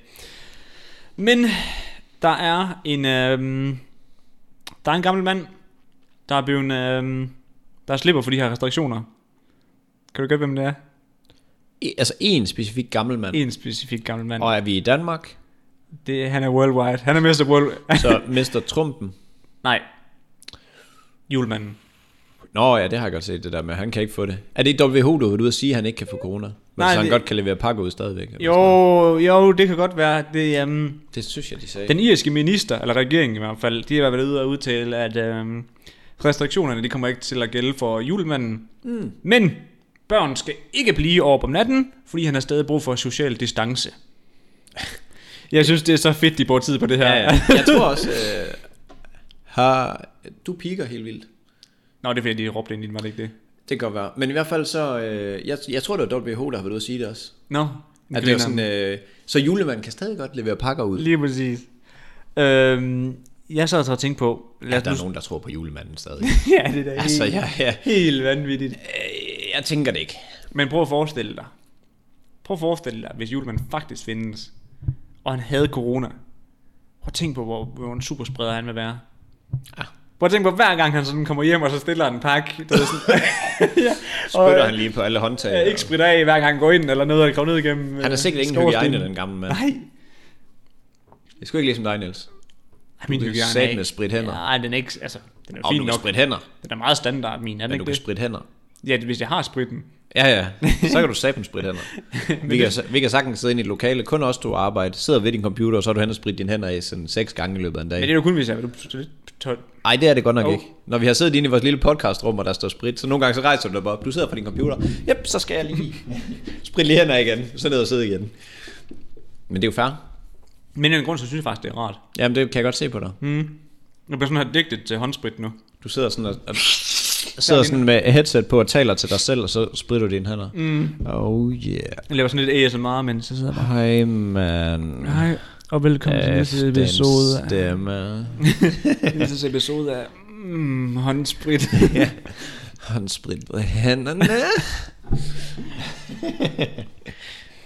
Men der er en øhm, der er en gammel mand, der er blevet øhm, der slipper for de her restriktioner. Kan du gætte, hvem det er? E- altså en specifik gammel mand. En specifik gammel mand. Og er vi i Danmark, Det, han er worldwide. Han er Mr. World... så mister Trumpen. Nej. Julemanden. Nå ja, det har jeg godt set det der med, han kan ikke få det. Er det ikke WHO, du har været ude at sige, at han ikke kan få corona? Men Nej, Nej, så han det... det- godt kan levere pakker ud stadigvæk? eller sådan noget? Jo, jo, det kan godt være. Det, øhm, Det synes jeg, de sagde. Den... Den irske minister, eller regeringen i hvert fald, de har været ude og udtale, at øhm, restriktionerne de kommer ikke til at gælde for julemanden. Hmm. Mm. Men børn skal ikke blive over om natten, fordi han har stadig brug for social distance. Jeg synes, det er så fedt, de bruger tid på det her. Ja, ja. Jeg tror også, øh, har... du piker helt vildt. Nå, det er fordi, de råbte ind i den, var det ikke det? Det kan godt være. Men i hvert fald så, øh, jeg, jeg tror, det var WHO, der har været ude at sige det også. Nå, At det var sådan, øh, så julemanden kan stadig godt levere pakker ud. Lige præcis. Øhm, jeg sad så og tænkte på... Lad Ja, os der er nu... nogen, der tror på julemanden stadig. ja, det er da helt, altså, jeg, jeg, helt vanvittigt. øh, jeg tænker det ikke. Men prøv at forestille dig. Prøv at forestille dig, hvis julemanden faktisk findes, og han havde corona. Prøv at tænke på, hvor, hvor en superspreder han vil være. Ah. Prøv at tænke på, hver gang han sådan kommer hjem, og så stiller han en pakke. Det er sådan, ja, og, øh, Spytter han lige på alle håndtag. ja, ikke spritter af, hver gang han går ind, eller noget, og kommer ned igennem Han har øh, sikkert ingen skorstenen. hygiejne, den gamle mand. Nej, Det er sgu ikke ligesom dig, Niels. Ej, min Du kan hygiejne er satme ikke- spritte hænder. Nej, den er ikke, altså, den er Om du fin kan nok. spritte hænder, Den er meget standard, min, er men den du ikke kan det? spritte hænder. Ja, hvis jeg har spritten. Ja, ja. Så kan du satme spritte hænder. Vi kan, vi kan sagtens sidde inde i et lokale, kun også du arbejde, sidder ved din computer, og så er du hen og spritte dine hænder af sådan seks gange i løbet af en Men det dag. er jo kun, hvis jeg er Nej, det er det godt nok Jo. ikke. Når vi har siddet inde i vores lille podcastrum, og der står sprit, så nogle gange så rejser du dig bare op. Du sidder på din computer. Jep, så skal jeg lige spritte lige hænder igen. Så ned og sidde igen. Men det er jo fair. Men af en grund, så synes jeg faktisk, det er rart. Hmm. Jamen, det kan jeg godt se på dig. Jeg bliver sådan her digtet til håndsprit nu. Du sidder sådan og... og sidder sådan med headset på og taler til dig selv, og så spritter du dine hænder. Mm. Oh yeah. Jeg laver sådan lidt ASMR, men så sidder jeg bare... Hej, man. Hej, og velkommen til næste Efter en episode af... stemme. Næste episode af... Mm, håndsprit. ja. Håndsprit på hænderne.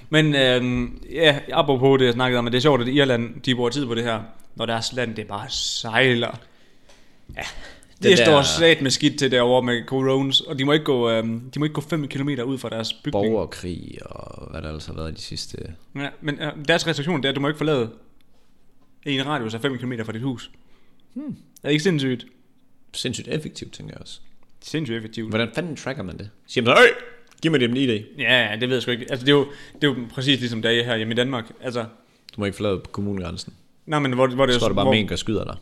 Men øhm, ja, apropos det, jeg snakkede om, at det er sjovt, at Irland, de bruger tid på det her, når deres land, det bare sejler. Ja, det, Det det der- står slet med skidt til derovre med corones, og de må ikke gå, øhm, de må ikke gå 5 km ud fra deres bygning. Borgerkrig og hvad der ellers har været de sidste... Ja, men øh, deres restriktion, det er, at du må ikke forlade en radius af 5 km fra dit hus. Hmm. Er det ikke sindssygt? Sindssygt effektivt, tænker jeg også. Sindssygt effektivt. Hvordan fanden tracker man det? Siger man så, Øj! Giv mig din ID. Ja, ja, det ved jeg sgu ikke. Altså, det er jo, det er jo præcis ligesom der er her hjemme i Danmark. Altså, Du må ikke forlade på kommunegrænsen. nej, men hvor, hvor det Så er jo- det bare hvor, men, der skyder dig.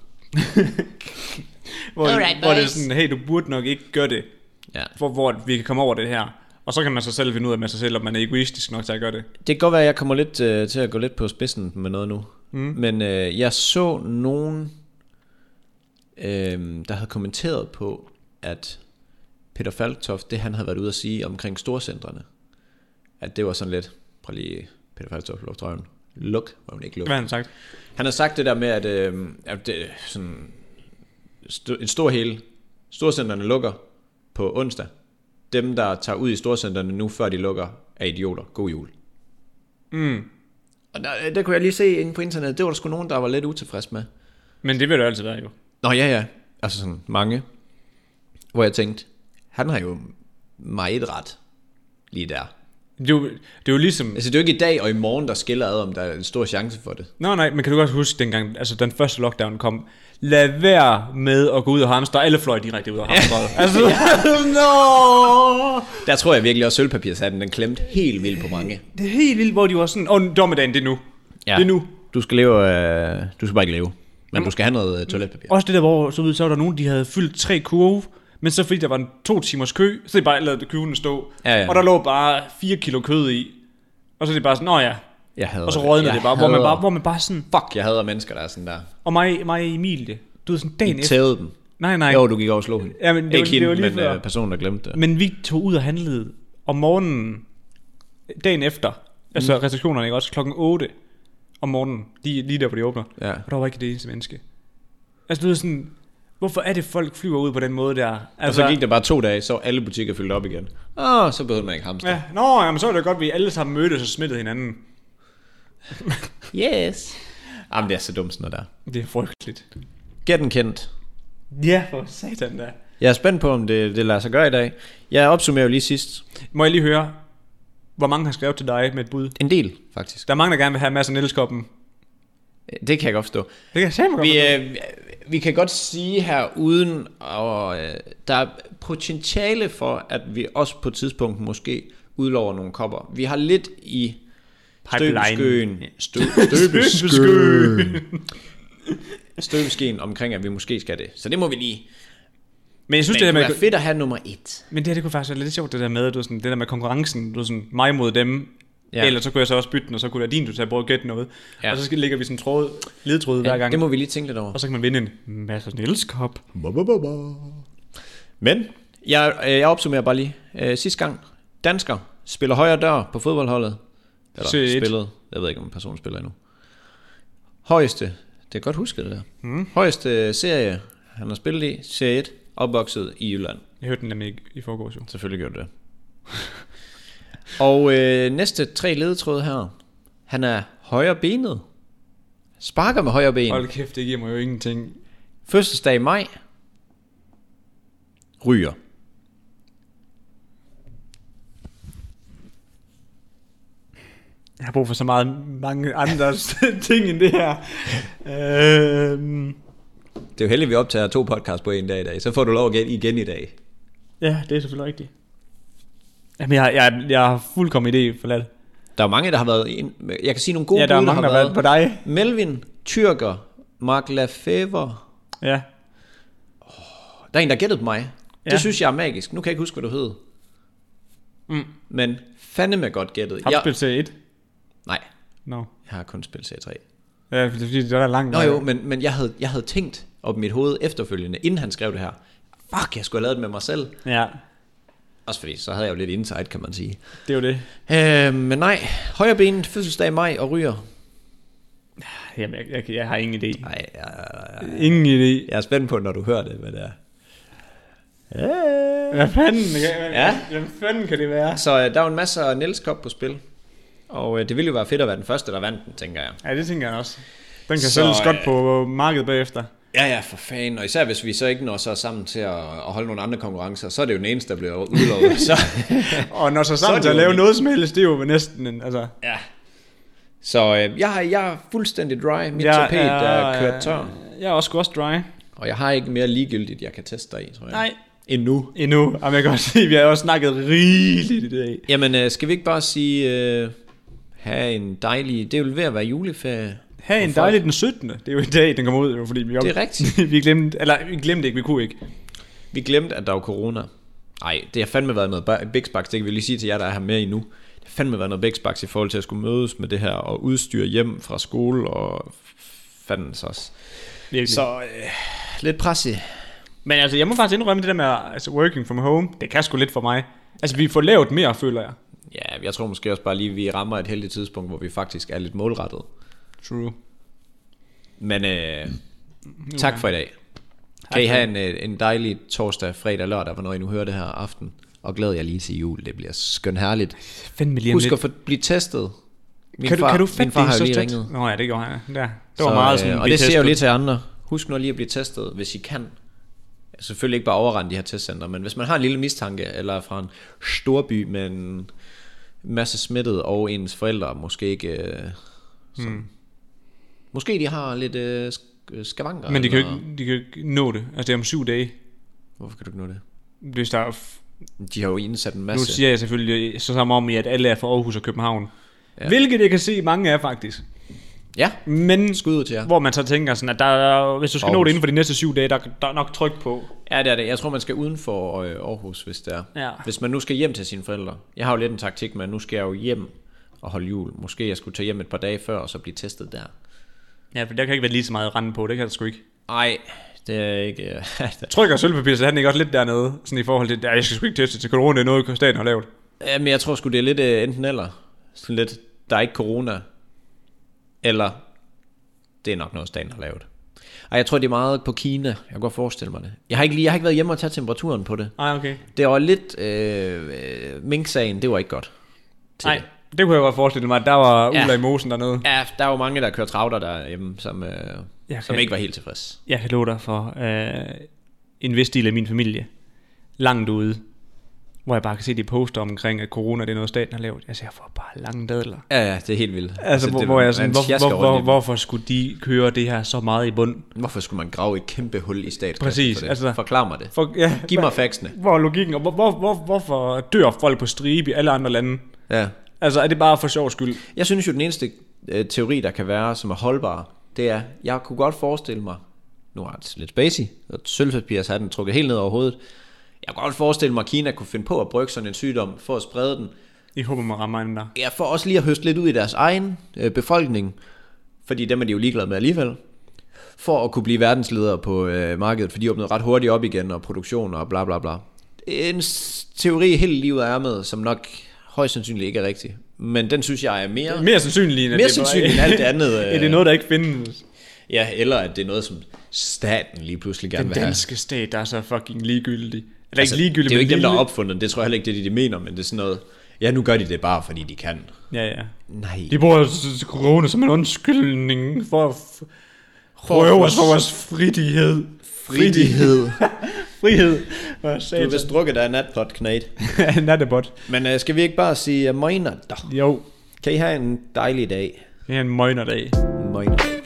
hvor, Alright, hvor det er boys. sådan, hey, du burde nok ikke gøre det, Ja. hvor, hvor vi kan komme over det her. Og så kan man så selv finde ud af med sig selv, om man er egoistisk nok til at gøre det. Det kan godt være, at jeg kommer lidt øh, til at gå lidt på spidsen med noget nu. Mm. Men øh, jeg så nogen, øh, der havde kommenteret på, at Peter Falktoft, det han havde været ude at sige omkring storcentrene, at det var sådan lidt, prøv lige Peter Falktoft, luftrøven, luk, var hun ikke luk. Hvad har han sagt? Han har sagt det der med, at, øh, at det, sådan, st- en stor hele, storcenterne lukker på onsdag. Dem, der tager ud i storcenterne nu, før de lukker, er idioter. God jul. Mm. Og der, øh, der kunne jeg lige se inde på internettet, det var der sgu nogen, der var lidt utilfreds med. Men det vil det jo altid være, jo. Nå ja, ja. Altså sådan mange. Hvor jeg tænkte, han har jo meget ret lige der. Det er jo, det er jo ligesom... Altså det er jo ikke i dag og i morgen, der skiller ad, om der er en stor chance for det. Nå nej, men kan du godt huske dengang, altså den første lockdown kom, lad være med at gå ud og hamstre, alle fløj direkte ud og hamstre. altså, no! Der tror jeg virkelig også, at sølvpapirshatten, den klemte helt vildt på mange. Det er helt vildt, hvor de var sådan, åh, oh, dommedagen, det er nu. Ja. Det er nu. Du skal leve, øh, du skal bare ikke leve. Men du skal have noget øh, toiletpapir. Også det der, hvor så, ud, så var der nogen, de havde fyldt tre kurve, men så fordi der var en to timers kø, så de bare lavet køven stå. Ja, ja. Og der lå bare 4 kilo kød i. Og så er det bare sådan, nå ja. Jeg hader Og så rådner Jeg det bare, hvor man hader- bare, hvor man bare sådan, Fuck, jeg hader mennesker, der er sådan der. og mig, mig og Emilie, du ved sådan dagen efter. Tævede dem. Nej, nej. Jo, du gik over og slog hende. Ja, men det var- ikke hende, det var lige men før. øh, personen, der glemte det. Men vi tog ud og handlede om morgenen, dagen efter, altså Mm. restriktionerne, ikke også, klokken 8 om morgenen, lige, lige der, hvor de åbner. Ja. Og der var ikke det eneste menneske. Altså, du ved sådan, hvorfor er det, folk flyver ud på den måde der? Og Altså, så gik der bare to dage, så var alle butikker fyldt op igen. Åh, så behøvede man ikke hamster. Ja, nå, jamen, så er det godt, at vi alle sammen mødtes og smittede hinanden. Yes. Jamen, det er så dumt sådan noget der. Det er frygteligt. Get den kendt. Ja, for satan da. Jeg er spændt på, om det, det lader sig gøre i dag. Jeg opsummerer jo lige sidst. Må jeg lige høre, hvor mange har skrevet til dig med et bud? En del, faktisk. Der er mange, der gerne vil have Mads og niels koppen. Det kan jeg godt forstå. Det kan jeg selv godt. Vi, forstå. øh, vi kan godt sige her uden, og øh, der er potentiale for, at vi også på et tidspunkt måske udlover nogle kopper. Vi har lidt i støbeskøen, stø- støbeskøen, støbeskeen omkring, at vi måske skal det. Så det må vi lige. Men jeg synes, Men det, det her med, er fedt at have nummer et. men det her, det kunne faktisk være lidt sjovt, det der med, at du sådan, det der med konkurrencen, du er sådan mig mod dem, Ja. ja. eller så kunne jeg så også bytte den, og så kunne det være din, du tager prøve at gætte noget. Ja. Ja. Og så skal, lægger vi sådan en tråd, ledtråd ja, hver gang, Det må vi lige tænke lidt over. og så kan man vinde en Mads og niels kop. Men jeg, øh, jeg opsummerer bare lige. Øh, sidste gang, dansker spiller højre dør på fodboldholdet. Eller Shit. spillet. Jeg ved ikke, om personen spiller endnu. Højeste, det er godt husket det der. Mm. Højeste serie, han har spillet i, serie 1, opvokset i Jylland. Jeg hørte den nemlig ikke i forgårs jo. Selvfølgelig gjorde det. Og øh, næste tre ledetråd her. Han er højre benet. Sparker med højre ben. Hold kæft, det giver mig jo ingenting. Fødselsdag i maj. Ryger. Jeg har brug for så meget mange andre ting end det her. Øhm, Det er jo heldigt, at vi optager to podcasts på en dag i dag. Så får du lov at gætte igen i dag. ja, det er selvfølgelig rigtigt. Jamen, jeg, jeg, jeg har fuldkommen idé forladt. Der er mange, der har været... ind- Jeg kan sige nogle gode Ja, der er bud, mange, der har har været på dig. Melvin, Tyrker, Mark Lefebvre. Ja. Der er en, der gættede på mig. Ja. Ja. Det synes jeg er magisk. Nu kan jeg ikke huske, hvad du hed. Mm. Men fandeme godt gættet. Har du Jeg- spillet til 1? Nej, Nå. jeg har kun spillet C3. Ja, for det er fordi, det er der lang Nå vej. jo, men, men jeg, havde, jeg havde tænkt op i mit hoved efterfølgende, inden han skrev det her. fuck, jeg skulle have lavet det med mig selv. Ja, Også fordi, så havde jeg jo lidt insight, kan man sige. det er jo det. Øh, men nej, højrebenet, fødselsdag i maj og ryger. Jamen, jeg, jeg, jeg har ingen idé. Nej, jeg, Ingen idé. jeg er spændt på, når du hører det, hvad det er. Hvad fanden, hvad, Ja. hvad fanden kan det være? Så øh, der er jo en masse af Niels Cup på spil. Og øh, det ville jo være fedt at være den første, der vandt den, tænker jeg. Ja, det tænker jeg også. Den kan Så, sælges godt øh, på markedet bagefter. Ja, ja, for fanden. Og især hvis vi så ikke når så sammen til at, at holde nogle andre konkurrencer, så er det jo den eneste, der bliver udlovet. så, Og når så Så er sammen det til at jo lave det. noget som helst, det er jo næsten en, altså... ja. Så øh, jeg, har, jeg er fuldstændig dry. Mit ja, tapet er, er kørt tør. Jeg er også også dry. Og jeg har ikke mere ligegyldigt, jeg kan teste dig i, tror jeg. Nej. Endnu. Endnu. Jamen, jeg kan godt se, vi har også snakket rigeligt i dag. Jamen, øh, skal vi ikke bare sige, øh, have en dejlig... Det er jo ved at være juleferie. Ha' en Hvorfor? dejlig den 17. Det er jo i dag, den kommer ud, jo, fordi vi Det er rigtigt. vi glemte, eller vi glemte ikke, vi kunne ikke. Vi glemte, at der var corona. Nej, det har fandme været noget ba- Big Bucks. Det kan vi lige sige til jer, der er her med endnu. Det har fandme været noget Big Bucks i forhold til at skulle mødes med det her og udstyr hjem fra skole og fandens også. Virkelig. Så, Så øh, lidt presset. men altså, jeg må faktisk indrømme det der med altså, working from home. Det kan sgu lidt for mig. Altså, vi får lavet mere, føler jeg. Ja, jeg tror måske også bare lige, vi rammer et heldigt tidspunkt, hvor vi faktisk er lidt målrettet. True. Men øh, tak for i dag. Kan I have en, øh, en dejlig torsdag, fredag, lørdag, hvornår I nu hører det her aften. Og glæder jeg lige til jul, det bliver skøn herligt. Fandme lige om Husk lidt. at få, blive testet. Min kan, du, kan du min fatte far det har jo så lige stødt? ringet. øh, Nå ja, det gjorde han. Der. Det var meget sådan, og vi det siger jeg jo testede. lige til andre. Husk nu lige at blive testet, hvis I kan. Selvfølgelig ikke bare overrende de her testcenter, men hvis man har en lille mistanke, eller er fra en storby med en masse smittet, og ens forældre måske ikke... Øh, sådan. Hmm. Måske de har lidt øh, sk- øh, skavanker. Men de kan, jo eller- ikke, de kan jo ikke nå det. Altså, det er om syv dage. Hvorfor kan du ikke nå det? Hvis der er f- De har jo indsat en nu masse... siger jeg selvfølgelig så sammen om, i, at alle er fra Aarhus og København. Ja. Hvilket jeg kan se, mange er faktisk. Ja, Men skud ud til jer. Hvor man så tænker sådan, at der, der, hvis du skal nå Aarhus. det inden for de næste syv dage, der, der er nok tryk på. Ja, det er det. Jeg tror, man skal uden for øh, Aarhus, hvis det er. Ja. Hvis man nu skal hjem til sine forældre. Jeg har jo lidt en taktik med, at nu skal jeg jo hjem og holde jul. Måske jeg skulle tage hjem et par dage før, og så blive testet der. Ja, for der kan ikke være lige så meget rende på, det kan der sgu ikke. Nej, det er ikke... øh, Tryk og sølvpapir, så er den ikke også lidt dernede, sådan i forhold til, at jeg skal sgu ikke teste til corona, det er noget, staten har lavet. Ja, men jeg tror sgu, det er lidt øh, enten eller. Sådan lidt, der er ikke corona. Eller, det er nok noget, staten har lavet. Ej, jeg tror, det er meget på Kina. Jeg kan godt forestille mig det. Jeg har ikke, lige, jeg har ikke været hjemme og tage temperaturen på det. Nej, Ah, okay. Det var lidt... Øh, øh, Mink-sagen, det var ikke godt. til Nej, det. det kunne jeg godt forestille mig, at der var Ja. Ulla i mosen dernede. Ja, der er jo mange, der kører travler derhjemme, som, øh, Jeg som kan- ikke var helt tilfredse. Jeg kan love dig for øh, en vis del af min familie, langt ude, hvor jeg bare kan se de poster omkring, at corona det er noget, staten har lavet. Jeg siger, for bare lange dadler. Ja, ja, det er helt vildt. Altså, hvor, det, hvor var jeg en sådan, hvor, fiasko hvor, hvor, rundt i- hvorfor skulle de køre det her så meget i bund? Hvorfor skulle man grave et kæmpe hul i statskassen Præcis, for det? altså- Forklar mig det. For, ja, Giv mig faxene. Hvor er logikken, og hvor, hvor, hvor, hvorfor dør folk på stribe i alle andre lande? Ja. Altså, er det bare for sjov skyld? Jeg synes jo, den eneste øh, teori, der kan være, som er holdbar, det er, jeg kunne godt forestille mig, nu er det lidt spacey, og sølvpapir så har den trukket helt ned over hovedet, jeg kunne godt forestille mig, at Kina kunne finde på at brygge sådan en sygdom for at sprede den, I håber, man rammer andre. Ja, for også lige at høste lidt ud i deres egen øh, befolkning, fordi dem er de jo ligeglade med alligevel, for at kunne blive verdensledere på øh, markedet, for de åbnede ret hurtigt op igen, og produktion og bla bla bla. En s- teori helt livet er med, som nok højst sandsynligt ikke er rigtig, men den synes jeg er mere... Mere sandsynligt end, Mere at det bare- sandsynligt end alt det andet, øh. er det noget, der ikke findes? Ja, eller at det er noget, som staten lige pludselig gerne Den vil have. danske stat, der er så fucking ligegyldig. Eller altså, Altså, ikke ligegyldig, det er jo men ikke dem, der har lille. opfundet den. Det tror jeg heller ikke, det er det, de mener, men det er sådan noget... Ja, nu gør de det bare, fordi de kan. Ja, ja. Nej. De bruger s- s- corona som en undskyldning for at f- at røve få os for vores fridighed. Fridighed. Frihed. Hvad Du har sagde vist drukket dig en natpot, Knæt. det? Nattebot. Men øh, skal vi ikke bare sige øh, møgner? Jo, Kan I have en dejlig dag? det er en møgnerdag. Møgner.